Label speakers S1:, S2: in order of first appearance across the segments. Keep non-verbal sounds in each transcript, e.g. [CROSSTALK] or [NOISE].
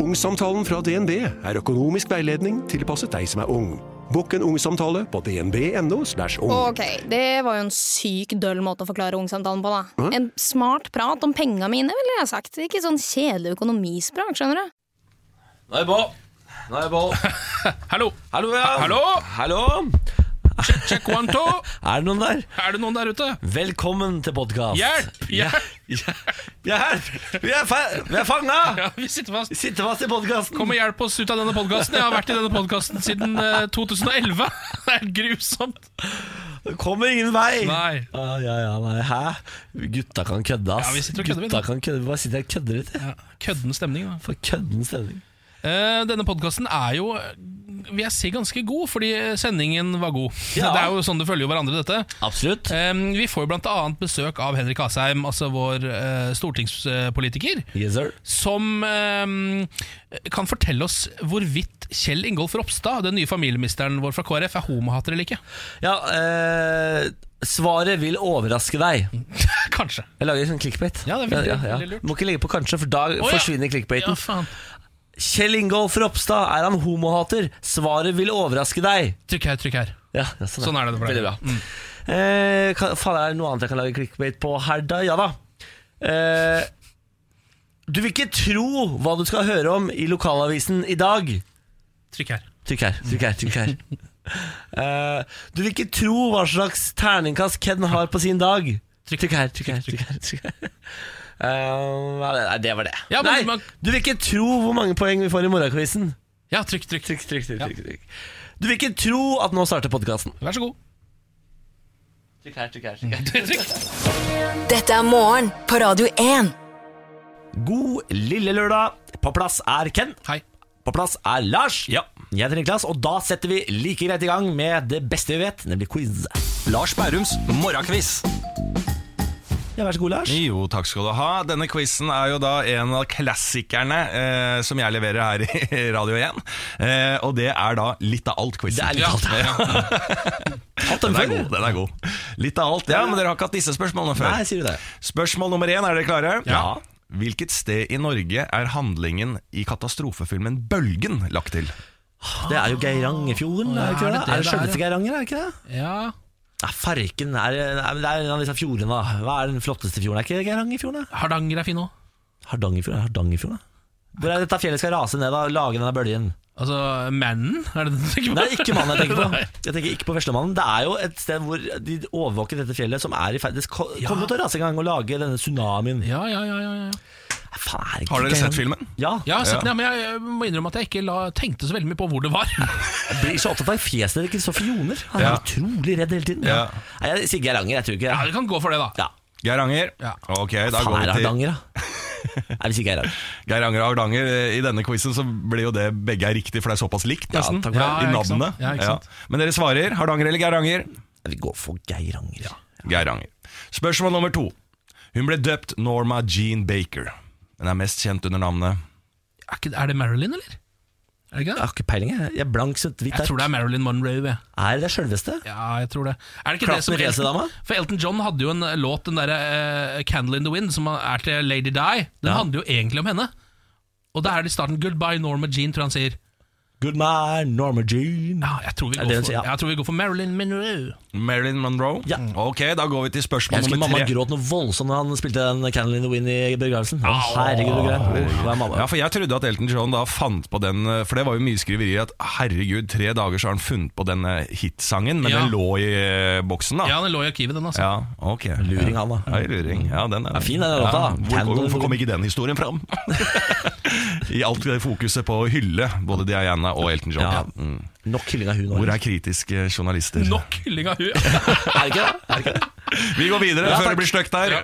S1: Ungsamtalen fra DNB er økonomisk veiledning tilpasset deg som er ung. Bokk en ungsamtale på dnb.no. slash ung.
S2: Ok, det var jo en syk døll måte å forklare ungsamtalen på, da. En smart prat om penga mine, ville jeg sagt. Ikke sånn kjedelig økonomisprat, skjønner du.
S3: Nå er jeg på. Nå er jeg på.
S4: Hallo!
S3: Hallo, ja.
S4: Hallo?
S3: Hallo.
S4: Check one, two!
S3: Er det noen der?
S4: [LAUGHS] Er det noen der ute?
S3: Velkommen til podkast.
S4: Hjelp! Hjelp!
S3: Hjelp! Vi er, fa- vi er fanga!
S4: Ja, vi sitter fast.
S3: Sitter fast i podkasten.
S4: Kom og hjelp oss ut av denne podkasten. Jeg har vært i denne podkasten siden eh, 2011. [LAUGHS] Det er grusomt.
S3: Kommer ingen vei.
S4: Nei.
S3: Ah, ja, ja, nei, hæ? Gutta kan kødde, ass.
S4: Ja, vi sitter og kødder, vi,
S3: Gutta
S4: da.
S3: kan kødde. Hva sitter jeg og kødder litt?
S4: Ja, kødden stemning, da.
S3: For kødden stemning.
S4: Eh, denne podkasten er jo eh, vil jeg si ganske god, fordi sendingen var god. [LAUGHS]
S3: Ja.
S4: Det er jo sånn det følger jo hverandre, dette.
S3: Absolutt.
S4: Eh, vi får jo bl.a. besøk av Henrik Asheim, altså vår eh, stortingspolitiker.
S3: Yes, sir.
S4: som eh, kan fortelle oss hvorvidt Kjell Ingolf Ropstad, den nye familieministeren vår fra KrF, er homohater eller ikke. [LAUGHS]
S3: Ja, eh, svaret vil overraske deg.
S4: Kanskje.
S3: Jeg lager sånn clickbait.
S4: Ja, det er veldig- veldig lurt.
S3: Må ikke legge på kanskje, for da
S4: ja.
S3: forsvinner clickbaiten.
S4: Ja, faen.
S3: Kjell Ingolf Ropstad, er han homohater? Svaret vil overraske deg.
S4: Trykk her, trykk her.
S3: Ja, ja,
S4: Sånn er det for deg.
S3: Veldig bra. Eh, kan, faen, er det noe annet jeg kan lage clickbait på her, da? Ja da. Eh, du vil ikke tro hva du skal høre om i lokalavisen i dag.
S4: Trykk her.
S3: Trykk her, trykk her, trykk her.
S4: [LAUGHS]
S3: Eh, du vil ikke tro hva slags terningkast Ken har på sin dag.
S4: Trykk.
S3: Trykk her, trykk her. Trykk her, trykk her. Eh, nei, det var det.
S4: Ja, men
S3: nei,
S4: man-
S3: du vil ikke tro hvor mange poeng vi får i morgenquizen.
S4: Ja, trykk, trykk.
S3: Trykk, trykk, trykk, trykk, trykk. Du vil ikke tro at nå starter podkasten.
S4: Vær så god.
S5: Dette er morgen på Radio 1.
S3: God lille lørdag. På plass er Ken.
S4: Hei.
S3: På plass er Lars. Jeg heter Niklas, og da setter vi like greit i gang med det beste vi vet, nemlig quiz.
S6: Lars Bærums morgenkviss.
S3: Ja, vær så god, Lars.
S6: Jo, takk skal du ha. Denne quizen er jo da en av klassikerne eh, som jeg leverer her i [LAUGHS] Radio 1. Eh, og det er da litt av alt-quizen.
S3: Det er litt av alt, [LAUGHS] Hatt en
S6: Den er
S3: før.
S6: god. den er god Litt av alt. Ja, men dere har ikke hatt disse spørsmålene før.
S3: Nei, sier du det.
S6: Spørsmål nummer én, er dere klare?
S3: Ja.
S6: Hvilket sted i Norge er handlingen i katastrofefilmen Bølgen lagt til?
S3: Det er jo Geirangerfjorden, er det ikke
S4: Ja, er
S3: det?
S4: det det
S3: Er det
S4: det er,
S3: sjølveste
S4: ja?
S3: Geiranger, er det ikke det?
S4: Ja
S3: Nei, Farken er, nei, men det er en av disse fjordene. da. Hva er den flotteste fjorden? Er ikke Geirangerfjorden? da?
S4: Hardanger er fin òg.
S3: Hardangerfjorden? er Hardangerfjorden, da? Hvor er dette fjellet skal rase ned og lage denne bølgen?
S4: Altså Mannen, er det det du tenker på?
S3: Nei, ikke mannen jeg
S6: [LAUGHS]
S3: tenker på.
S4: [LAUGHS] Nei.
S3: Jeg tenker ikke på Veslemannen. Det er jo et sted hvor de overvåker dette fjellet, som er i ferd Det ko- kommer jo til å rase en gang og lage denne tsunamien.
S4: Ja, ja, ja, ja, ja.
S3: Faen, er det ikke
S6: Har dere
S3: Geiranger?
S6: sett filmen?
S3: Ja.
S4: Jeg, har sett, den, ja, men jeg, jeg må innrømme at jeg ikke la, tenkte så veldig mye på hvor det var. [LAUGHS]
S3: Jeg blir så opptatt av fjeset til Kristoffer Joner. Han er
S6: Ja.
S3: utrolig redd hele tiden.
S6: Ja.
S3: Nei, jeg sier Geiranger, jeg tror ikke
S4: Ja, Vi kan gå for det, da.
S3: Ja.
S6: Geiranger.
S4: Ja.
S6: Ok, da
S3: Faen, er
S6: går
S3: det
S6: vi til
S3: Hardanger, da?
S6: [LAUGHS]
S3: Nei, vi sier Geiranger.
S6: Geiranger og Hardanger. eh, I denne quizen så blir jo det begge er riktig, for det er såpass likt,
S3: Ja,
S6: nesten.
S3: takk for det.
S6: I
S4: ikke sant?
S6: navnet.
S4: Ja, ikke sant?
S6: Men dere svarer Hardanger eller Geiranger?
S3: Vi går for Geiranger.
S6: Geiranger. Spørsmål nummer to. Hun ble døpt Norma Jean Baker, men er mest kjent under navnet
S4: Er, ikke, er det Marilyn, eller? Er det ikke
S3: Jeg
S4: det?
S3: har ikke peiling, jeg. Jeg er blank som et hvitt
S4: Jeg
S3: ark.
S4: tror det er Marilyn Monroe. Jeg.
S3: Er det det sjølveste?
S4: Ja, jeg tror det. Er det ikke
S3: Klatten
S4: det som
S3: racerdama?
S4: Elton, For Elton John hadde jo en låt, den derre eh, 'Candle in the Wind', som er til Lady Di. Den
S3: Ja.
S4: handler jo egentlig om henne. Og da er det i starten 'Goodbye Norma Jean', tror jeg han sier.
S3: Good man, Norma Jean.
S4: Ja, jeg tror vi
S3: Er
S4: går
S3: det hun
S4: for,
S3: sier, ja.
S4: jeg tror vi går for Marilyn Monroe.
S6: Marilyn Monroe?
S3: Ja.
S6: Ok, da går vi til
S3: Jeg
S6: spørsmål
S3: husker
S6: nummer
S3: mamma
S6: tre.
S3: gråt noe voldsomt da han spilte den Candle in the Wind i begravelsen. Å, herregud, hvor greit. Hva er mamma?
S6: Ja, for Jeg trodde at Elton John da fant på den eh, For det var jo mye skriverier at herregud, tre dager så har han funnet på denne hitsangen, men
S4: Ja.
S6: den lå i eh, boksen, da.
S4: Ja, den lå i arkivet, den, altså.
S6: Ja, ok
S3: Luring, han, da.
S6: Ja, i luring. Ja, den er,
S3: fin, den låta, da.
S6: Hvor,
S3: Candle-
S6: hvorfor kom ikke den historien fram? [LAUGHS] I alt det fokuset på å hylle både Diana og Elton John.
S3: Ja.
S6: Mm.
S3: Nok hylling av hun.
S6: Hvor
S3: Oren.
S6: er kritiske journalister?
S4: Nok hylling av
S3: [LAUGHS]
S4: hun.
S3: Er det ikke det? Er det ikke det?
S6: Vi går videre
S3: Ja,
S6: før
S3: takk.
S6: det blir stygt der.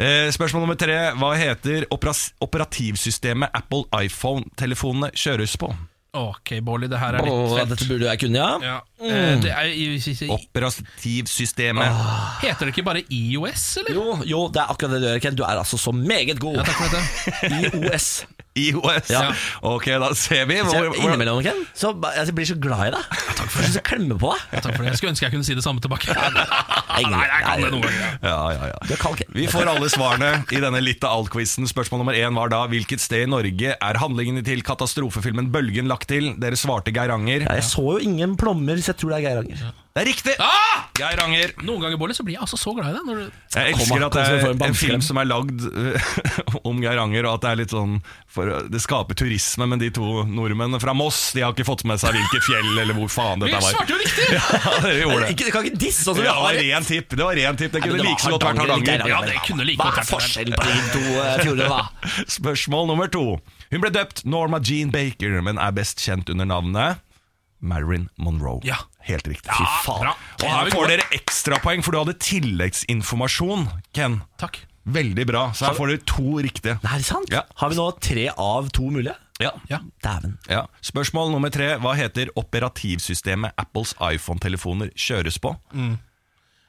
S6: Eh, spørsmål nummer tre. Hva heter operas- operativsystemet Apple iPhone-telefonene kjøres på?
S4: [LAUGHS] Ok, Bårli, det her er
S3: Å,
S4: litt
S3: dette
S4: fett.
S3: burde jeg kunne, ja.
S4: Ja. eh, Det er, i-
S6: Operativsystemet
S4: heter det ikke bare IOS, eller?
S3: Jo, jo, det er akkurat det du gjør, Ken. Du er altså så meget god.
S4: Ja, takk for dette.
S3: I OS.
S6: IOS.
S3: Ja.
S6: Ok, da ser vi.
S3: Så
S6: Hvor,
S3: jeg,
S6: hvor,
S3: innimellom, Ken, så ba- altså, jeg blir så glad i deg. Takk for det. Så klemmer på deg.
S4: Ja, takk for det. Jeg skulle ønske jeg kunne si det samme tilbake. [LAUGHS] Nei, jeg kan det noen ganger.
S6: ja, ja, ja.
S3: Du er kald, Ken.
S6: Vi får alle svarene i denne litt av alt-quizen. Spørsmål nummer én var da hvilket sted i Norge er handlingene til katastrofefilmen 'Bølgen' lagt til? Dere svarte Geiranger.
S3: Ja, jeg så jo ingen plommer, så jeg tror det er Geiranger.
S6: Det er riktig!
S4: Ah!
S6: Geiranger.
S4: Noen ganger Bolle, så blir jeg altså så glad i deg. Når du
S6: Jeg
S3: Kom,
S6: elsker
S3: da.
S6: at
S3: Kom,
S6: det
S3: så vi får
S6: er
S3: en
S6: en
S3: bamseklem.
S6: film som er lagd eh, [LAUGHS] om Geiranger, og at det er litt sånn for, Det skaper turisme, men de to nordmennene fra Moss De har ikke fått med seg hvilket fjell eller hvor faen
S4: Vi
S6: dette var.
S4: svarte jo riktig!
S6: [LAUGHS] Ja, dere gjorde det.
S3: Ikke, du kan ikke disse sånn som
S6: Det
S3: vi
S6: var
S3: har det.
S6: ren tipp. Det var ren tipp Det
S3: Nei, men
S6: kunne
S3: det var
S6: like så godt vært
S3: Hardanger eller
S6: Hardanger.
S4: Ja, det kunne like
S3: Hva
S4: godt
S3: er
S4: vært
S3: forskjellen
S4: Hardanger.
S3: på de to [LAUGHS] eh, fjordene, da?
S6: Spørsmål nummer to. Hun ble døpt Norma Jean Baker, men er best kjent under navnet Marilyn Monroe.
S4: Ja.
S6: Helt riktig.
S4: Ja, bra.
S6: Og
S4: Den er
S6: her
S4: vi
S6: får
S4: gode.
S6: dere ekstrapoeng, for du hadde tilleggsinformasjon, Ken.
S4: Takk.
S6: Veldig bra. Så her får dere to riktige.
S3: Nei, Er det sant?
S6: Ja.
S3: Har vi nå tre av to mulige?
S6: Ja.
S4: Ja.
S3: Dæven.
S6: Ja. Spørsmål nummer tre. Hva heter operativsystemet Apples iPhone-telefoner kjøres på?
S4: Mm.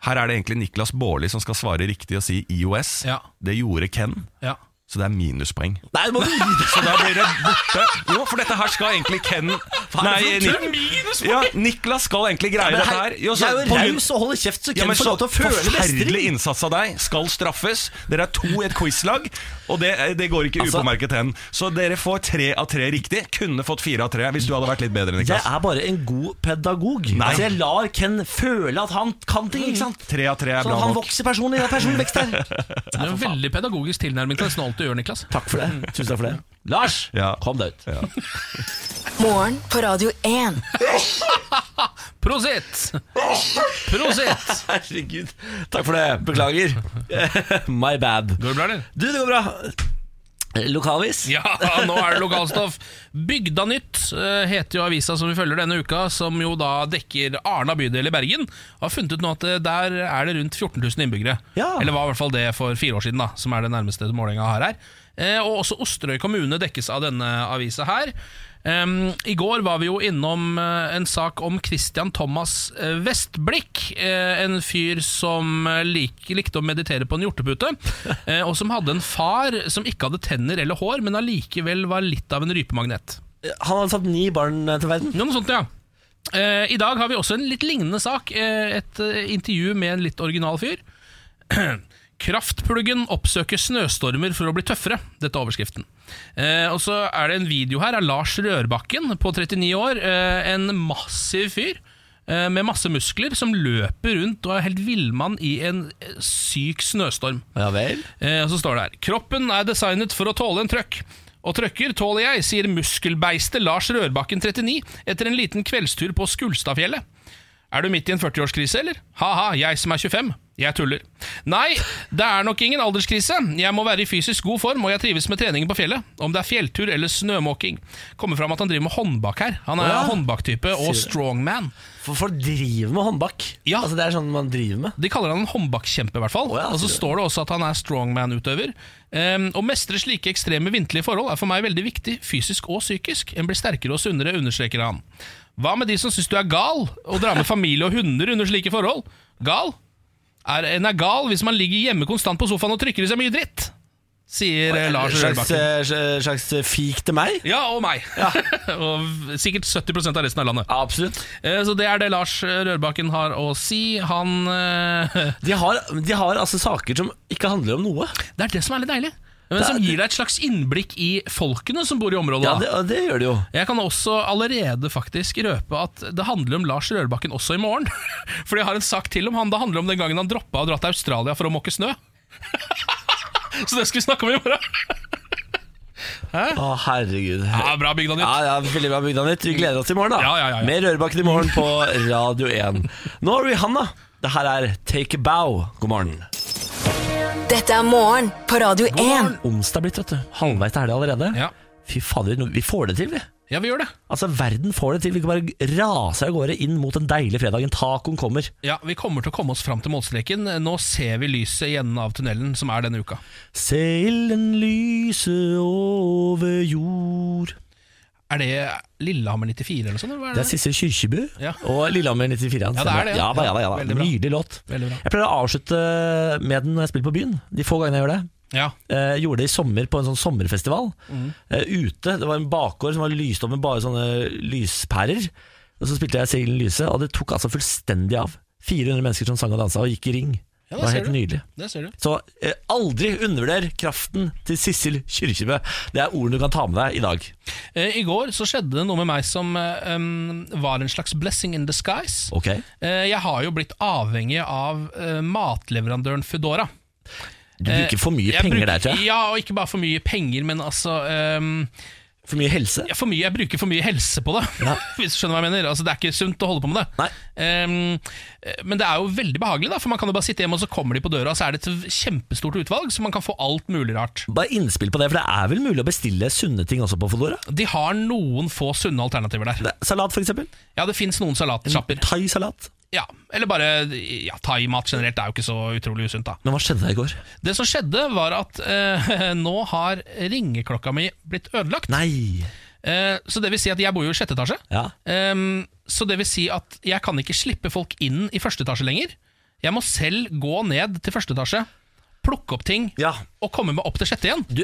S6: Her er det egentlig Niklas Baarli som skal svare riktig og si IOS.
S4: Ja.
S6: Det gjorde Ken,
S4: Ja.
S6: så det er minuspoeng.
S3: Nei, du må gi deg.
S6: Så da blir det borte. Jo, for dette her skal egentlig Ken Nei, Nik
S4: Minuspoeng!
S6: ja, Niklas skal egentlig greie
S3: Men
S6: dette
S3: her-
S6: her. Jo,
S3: Jeg
S6: så
S3: er
S6: på
S3: jo
S6: grunn-
S3: raus og holder kjeft, så
S6: ja,
S3: Ken
S6: men
S3: får
S6: så
S3: lov til å føle
S6: forferdelig
S3: mestring.
S6: innsats av deg skal straffes. Dere er to i et quizlag, og det, det går ikke
S3: Altså-
S6: upåmerket hen. Så dere får tre av tre riktig. Kunne fått fire av tre hvis du hadde vært litt bedre,
S3: Jeg
S6: Niklas.
S3: er bare en god pedagog.
S6: Nei. Mm.
S3: Altså, jeg lar Ken føle at han kan ting. ikke sant?
S6: Tre av tre er
S3: Sånn
S6: bra
S3: at han
S6: nok.
S3: vokser personlig. Det er personlig vekst her.
S4: Det er en veldig pedagogisk tilnærming til nesten alt du gjør, Niklas. Mm.
S3: Takk for det. Tusen takk for det. Lars,
S6: Ja.
S3: kom deg ut.
S5: Morgen på Radio 1.
S4: Prosit! Prosit!
S3: Herregud. Takk for det. Beklager. [LAUGHS] My bad.
S4: Går det bra, eller?
S3: Du, det går bra. Lokalvis.
S4: Ja, nå er det lokalstoff. Bygda Nytt eh, heter jo avisa som vi følger denne uka, som jo da dekker Arna bydel i Bergen. Og har funnet ut nå at eh, der er det rundt 14 000 innbyggere.
S3: Ja.
S4: Eller var i hvert fall det for fire år siden, da, som er det nærmeste målinga har her. Eh, Og også Osterøy kommune dekkes av denne avisa her. Em, I går var vi jo innom eh, en sak om Christian Thomas eh, Vestblikk. eh, en fyr som eh, lik, likte å meditere på en hjortepute, eh, og som hadde en far som ikke hadde tenner eller hår, men allikevel var litt av en rypemagnet.
S3: Han hadde satt ni barn eh, til verden.
S4: Ja, Noe sånt, ja. Eh, I dag har vi også en litt lignende sak. eh, et eh, intervju med en litt original fyr. [CLEARS THROAT] Kraftpluggen oppsøker snøstormer for å bli tøffere. Dette er overskriften. Eh, og så er det en video her av Lars Rørbakken på 39 år. Eh, en massiv fyr eh, med masse muskler som løper rundt og er helt villmann i en eh, syk snøstorm.
S3: Ja vel.
S4: Eh, og så står det her Kroppen er designet for å tåle en trøkk. Og trøkker tåler jeg, sier muskelbeistet Lars Rørbakken 39 etter en liten kveldstur på Skulstadfjellet. Er du midt i en 40-årskrise, eller? Ha-ha, jeg som er 25. Jeg tuller. Nei, det er nok ingen alderskrise. Jeg må være i fysisk god form, og jeg trives med treningen på fjellet. Om det er fjelltur eller snømåking. Kommer fram at han driver med håndbak her. Han er
S3: Å ja.
S4: håndbaktype og strongman.
S3: For folk driver med håndbak.
S4: Ja.
S3: Altså, det er sånn man driver med.
S4: De kaller han en håndbakkjempe, i hvert fall.
S3: Å ja,
S4: og så
S3: sier du.
S4: står det også at han er strongman-utøver. Um, å mestre slike ekstreme vinterlige forhold er for meg veldig viktig, fysisk og psykisk. En blir sterkere og sunnere, understreker han. Hva med de som syns du er gal, og drar med familie og hunder under slike forhold? Gal? Er, en er gal hvis man ligger hjemme konstant på sofaen og trykker i seg mye dritt, sier eh, Lars
S3: slags,
S4: Rørbakken.
S3: eh, sl- slags eh, fik til meg.
S4: Ja, og meg. [LAUGHS] og sikkert 70 av resten av landet.
S3: Absolutt.
S4: Eh, Så det er det Lars Rørbakken har å si. Han eh,
S3: De har, de har altså saker som ikke handler om noe.
S4: Det er det som er litt deilig. Men
S3: Det er-
S4: Som gir deg et slags innblikk i folkene som bor i området.
S3: Ja,
S4: da.
S3: det, og det gjør de jo.
S4: Jeg kan også allerede faktisk røpe at det handler om Lars Rørbakken også i morgen. [LAUGHS] For jeg har en sak til om han. Det handler om den gangen han droppa å dra til Australia for å måke snø. [LAUGHS] Så det skal vi snakke om i morgen.
S3: Å, herregud.
S4: Ja, Bra bygda nytt.
S3: Ja, ja, Veldig bra bygda nytt. Vi gleder oss til i morgen, da.
S4: Ja, ja, ja, ja.
S3: Mer Rørbakken i morgen på Radio 1. Nå har vi Hanna. Det her er Take a Bow. God morgen.
S5: Dette er morgen på Radio 1.
S3: Onsdag blitt, vet du. Halvveis til helga allerede.
S4: Ja.
S3: Fy fader, nå- vi får det til, vi.
S4: ja, vi gjør det.
S3: Altså, Verden får det til. Vi kan bare rase av gårde inn mot den deilige fredagen. Tacoen kommer.
S4: Ja, Vi kommer til å komme oss fram til målstreken. Nå ser vi lyset i enden av tunnelen, som er denne uka.
S3: Se ilden lyse over jord.
S4: Er det Lillehammer 94 eller noe sånt? eller hva er
S3: Det er Sissel Kyrkjebø
S4: Ja.
S3: og Lillehammer 94. han
S4: Ja, det er det,
S3: stemmer.
S4: ja.
S3: Ja, da, ja, da, ja, da.
S4: Veldig bra.
S3: Nydelig låt.
S4: Veldig bra.
S3: Jeg pleier å avslutte med den når jeg spiller på byen. De få gangene jeg gjør det.
S4: Ja.
S3: eh, gjorde det i sommer på en sånn sommerfestival
S4: Mm.
S3: eh, ute. Det var en bakgård som var lyst opp med bare sånne lyspærer. Og så spilte jeg Siglen Lyse, og det tok altså fullstendig av. 400 mennesker som sang og dansa og gikk i ring.
S4: Ja,
S3: det var
S4: ser
S3: helt
S4: du.
S3: nydelig.
S4: Det ser du.
S3: Så eh, aldri undervurder kraften til Sissel Kyrkjebø. Det er ordene du kan ta med deg i dag.
S4: Eh, I går så skjedde det noe med meg som eh, um, var en slags blessing in disguise.
S3: Ok?
S4: Eh, jeg har jo blitt avhengig av eh, matleverandøren Foodora.
S3: Du bruker for mye
S4: Eh, Jeg
S3: penger
S4: bruker-
S3: der, tror jeg.
S4: Ja, og ikke bare for mye penger, men altså um,
S3: For mye helse.
S4: ja, for mye, Jeg bruker for mye helse på det,
S3: Ja.
S4: [LAUGHS] hvis du skjønner hva jeg mener. Altså, det er ikke sunt å holde på med det.
S3: Nei.
S4: Um, eh, men det er jo veldig behagelig, da, for man kan jo bare sitte hjemme, og så kommer de på døra, og så er det et kjempestort utvalg, så man kan få alt mulig rart.
S3: Bare innspill på det, for det er vel mulig å bestille sunne ting også på Foodora?
S4: De har noen få sunne alternativer der.
S3: Det- Salat, for eksempel.
S4: Ja, det fins noen salatsjapper.
S3: Thaisalat.
S4: Ja, eller bare ja, thaimat generelt er jo ikke så utrolig usunt, da.
S3: Men hva skjedde der i går?
S4: Det som skjedde, var at eh, [LAUGHS] nå har ringeklokka mi blitt ødelagt.
S3: Nei.
S4: Eh, så det vil si at jeg bor jo i sjette etasje.
S3: Ja.
S4: Ehm, så det vil si at jeg kan ikke slippe folk inn i første etasje lenger. Jeg må selv gå ned til første etasje, plukke opp ting
S3: Ja.
S4: og komme meg opp til sjette igjen.
S3: Du,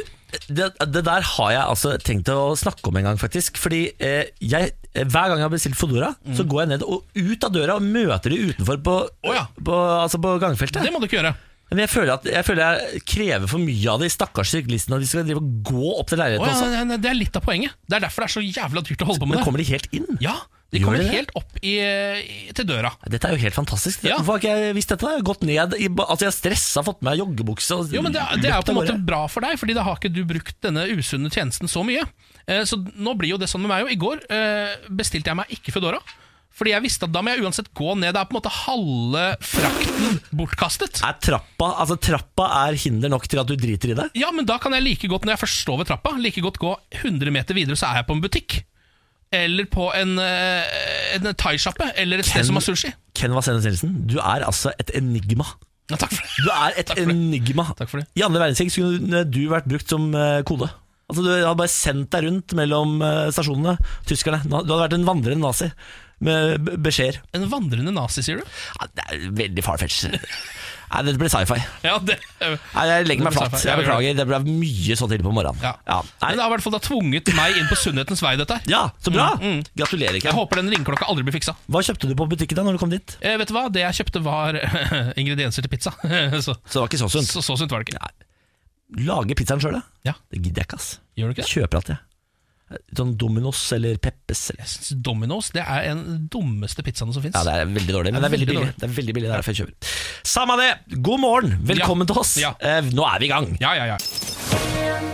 S3: det, det der har jeg altså tenkt å snakke om en gang, faktisk. Fordi eh, jeg, hver gang jeg har bestilt Foodora,
S4: Mm.
S3: så går jeg ned og ut av døra og møter de utenfor på,
S4: Å ja.
S3: på, altså på gangfeltet.
S4: Det må du ikke gjøre.
S3: Men jeg føler, at, jeg føler jeg krever for mye av de stakkars syklistene når de skal drive og gå opp til
S4: Å
S3: leiligheten
S4: ja, nei, nei, det er litt av poenget. Det er derfor det er så jævla dyrt å holde
S3: også.
S4: på med
S3: Men
S4: det.
S3: kommer de helt inn?
S4: Ja, De
S3: Gjør
S4: kommer
S3: de det?
S4: helt opp i, i, til døra.
S3: Dette er jo helt fantastisk.
S4: Ja.
S3: Hvorfor har ikke jeg visst dette? da? Jeg har gått ned i, ba- altså jeg har stressa, fått med meg joggebukse og
S4: Jo, men det, det er jo
S3: løpt
S4: på
S3: av
S4: en måte
S3: gårde.
S4: bra for deg, Fordi da har ikke du brukt denne usunne tjenesten så mye. Eh, Så nå blir jo det sånn med meg jo. I går eh, bestilte jeg meg ikke Foodora. Fordi jeg visste at da må jeg uansett gå ned. Det er på en måte halve frakten bortkastet.
S3: Er trappa, altså trappa er hinder nok til at du driter i det?
S4: Ja, men da kan jeg like godt, når jeg først står ved trappa, like godt gå 100 meter videre, så er jeg på en butikk. Eller på en, eh, en thaisjappe, eller et sted som har sushi.
S3: Ken Vasenus Nilsen, du er altså et enigma.
S4: Ja, takk for det.
S3: Du er et
S4: Takk for det.
S3: enigma.
S4: Takk for det.
S3: I andre verdenskrig skulle du vært brukt som eh, kode. Altså Du hadde bare sendt deg rundt mellom eh, stasjonene, tyskerne. Du hadde vært en vandrende nazi med b- beskjeder.
S4: En vandrende nazi, sier du?
S3: Ja, det er veldig
S4: [LAUGHS]
S3: farfetch. Nei, dette blir sci-fi.
S4: Ja, det
S3: Nei, Jeg legger
S4: Det
S3: meg
S4: blir
S3: flat.
S4: sci-fi.
S3: Jeg
S4: Ja, gjør
S3: beklager. Det ble mye så tidlig på morgenen.
S4: ja.
S3: Ja, Nei.
S4: Men det har i hvert fall da tvunget meg inn på sunnhetens vei, dette her.
S3: ja så bra!
S4: Mm, mm.
S3: Gratulerer,
S4: Jeg
S3: Ken.
S4: håper den ringeklokka aldri blir fiksa.
S3: Hva kjøpte du på butikken da når du kom dit?
S4: Eh, vet du hva? Det jeg kjøpte, var eh, [LAUGHS] ingredienser til pizza.
S3: Så
S4: så,
S3: det var ikke så sunt.
S4: så, så sunt var det ikke.
S3: Lage pizzaen sjøl, da?
S4: Ja.
S3: Det gidder jeg ikke, ass.
S4: Gjør du ikke det?
S3: Jeg kjøper alt, jeg. Sånn Dominos eller Peppes. Eller.
S4: Jeg synes Domino's det er en av de dummeste pizzaene som fins.
S3: Ja, det er veldig dårlig, men det er veldig billig. Det er veldig billig, det er derfor jeg kjøper. Samme det! God morgen, velkommen
S4: Ja.
S3: til oss.
S4: Ja.
S3: Eh, nå er vi i gang.
S4: ja, ja, ja.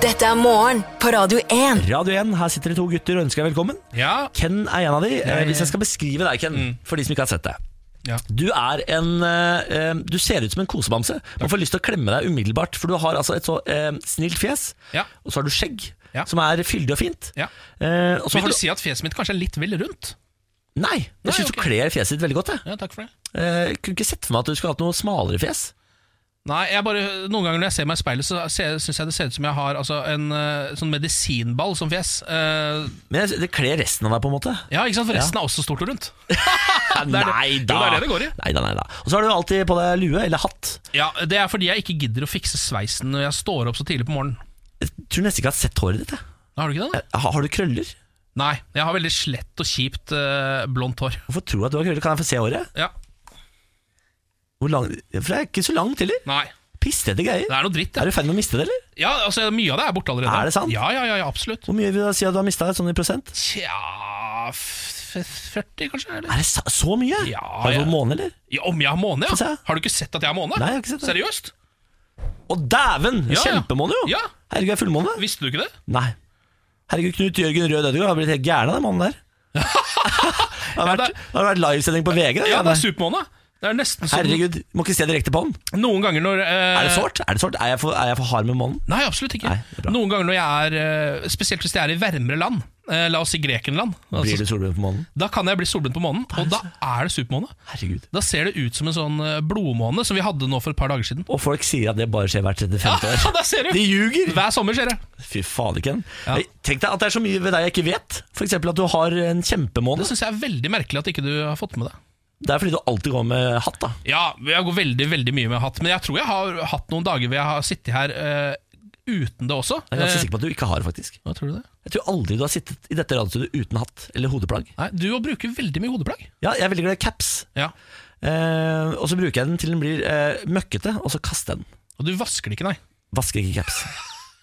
S5: Dette er morgen på Radio 1.
S3: Radio 1, her sitter det to gutter og ønsker deg velkommen.
S4: ja. Mm.
S3: Ken er en av de. Eh, hvis jeg skal beskrive deg, Ken, for de som ikke har sett deg.
S4: Ja.
S3: Du er en eh, eh, Du ser ut som en kosebamse. Man får lyst til å klemme deg umiddelbart, for du har altså et så eh, snilt fjes,
S4: Ja.
S3: og så har du skjegg,
S4: Ja.
S3: som er fyldig og fint.
S4: Ja.
S3: Eh, og så
S4: Vil
S3: har
S4: du
S3: du
S4: si at fjeset mitt kanskje er litt vel rundt?
S3: Nei,
S4: Nei,
S3: jeg syns
S4: ok.
S3: du kler fjeset ditt veldig godt. Jeg.
S4: Ja, takk for det.
S3: Eh, Jeg kunne ikke sett for meg at du skulle hatt noe smalere fjes.
S4: Nei, jeg bare, Noen ganger når jeg ser meg i speilet, så syns jeg det ser ut som jeg har altså, en eh, sånn medisinball som fjes. Eh,
S3: Men jeg, det kler resten av deg, på en måte.
S4: ja, ikke sant? For resten er også stort og rundt. det er det.
S3: Nei
S4: Jo,
S3: da!
S4: det er det det går i.
S3: Nei da, nei da. Og så har du alltid på deg lue eller hatt.
S4: Ja, Det er fordi jeg ikke gidder å fikse sveisen når jeg står opp så tidlig på morgenen.
S3: Jeg tror nesten ikke jeg har sett håret ditt. jeg.
S4: Har du ikke det? da?
S3: Har, har du krøller?
S4: Nei, jeg har veldig slett og kjipt eh, blondt hår.
S3: Hvorfor tror jeg at du har krøller? Kan jeg få se håret?
S4: Ja,
S3: Hvor lang? For det er ikke så langt heller.
S4: Nei,
S3: Pissete greier.
S4: det er noe dritt.
S3: Er
S4: Ja.
S3: du i ferd med å miste det, eller?
S4: Ja, altså, mye av det er borte allerede.
S3: Er det sant?
S4: Ja, ja, ja, ja absolutt.
S3: Hvor mye vil du si at du har mista sånn i prosent?
S4: Tja f- f- 40, kanskje? Eller?
S3: Er det så, så mye?
S4: Ja,
S3: har du
S4: ja.
S3: fått måne, eller?
S4: Ja, om jeg har måne,
S3: Få se.
S4: ja? Har du ikke sett at jeg har måne?
S3: Nei, jeg har ikke sett det.
S4: Seriøst?
S3: Å dæven!
S4: Ja, ja.
S3: Kjempemåne, jo!
S4: Ja.
S3: Herregud, jeg er fullmåne.
S4: Visste du ikke det?
S3: Nei. Herregud, Knut Jørgen Rød Ødegaard har blitt helt gæren av den mannen
S4: [LAUGHS]
S3: der. det har vært,
S4: det-
S3: det har vært livesending på VG. det
S4: Ja, det er
S3: der.
S4: supermåne. Det er nesten som
S3: Herregud, må ikke se direkte på han.
S4: Noen ganger når eh,
S3: Er det sårt? Er, det sårt? er, jeg, for, er jeg for hard med månen?
S4: Nei, absolutt ikke.
S3: Nei, det er bra.
S4: Noen ganger når jeg er eh, Spesielt hvis jeg er i varmere land. eh, La oss si Grekenland.
S3: Blir
S4: Altså,
S3: du solbrun på månen?
S4: da kan jeg bli solbrent på månen, og da er det supermåne.
S3: Herregud.
S4: Da ser det ut som en sånn eh, blodmåne som vi hadde nå for et par dager siden.
S3: Og folk sier at det bare skjer hvert 35.
S4: [LAUGHS] Ja,
S3: år.
S4: der ser du!
S3: De ljuger!
S4: Hver sommer skjer det.
S3: Fy faderen.
S4: Ja.
S3: Tenk deg at det er så mye ved deg jeg ikke vet. F.eks. at du har en
S4: Det
S3: kjempemåne.
S4: syns jeg er veldig merkelig at ikke du har fått med det.
S3: Det er fordi du alltid går med hatt. da
S4: Ja, jeg går veldig veldig mye med hatt, men jeg tror jeg har hatt noen dager hvor jeg har sittet her eh, uten det også.
S3: Jeg er ganske
S4: Eh,
S3: sikker på at du ikke har det, faktisk.
S4: Hva tror du det?
S3: Jeg tror aldri du har sittet i dette radiostudioet uten hatt eller hodeplagg.
S4: Nei, du jo bruker veldig mye hodeplagg.
S3: Ja, jeg er veldig glad i caps.
S4: Ja.
S3: Eh, og så bruker jeg den til den blir eh, møkkete, og så kaster jeg den.
S4: Og du vasker det ikke, nei.
S3: Vasker ikke caps.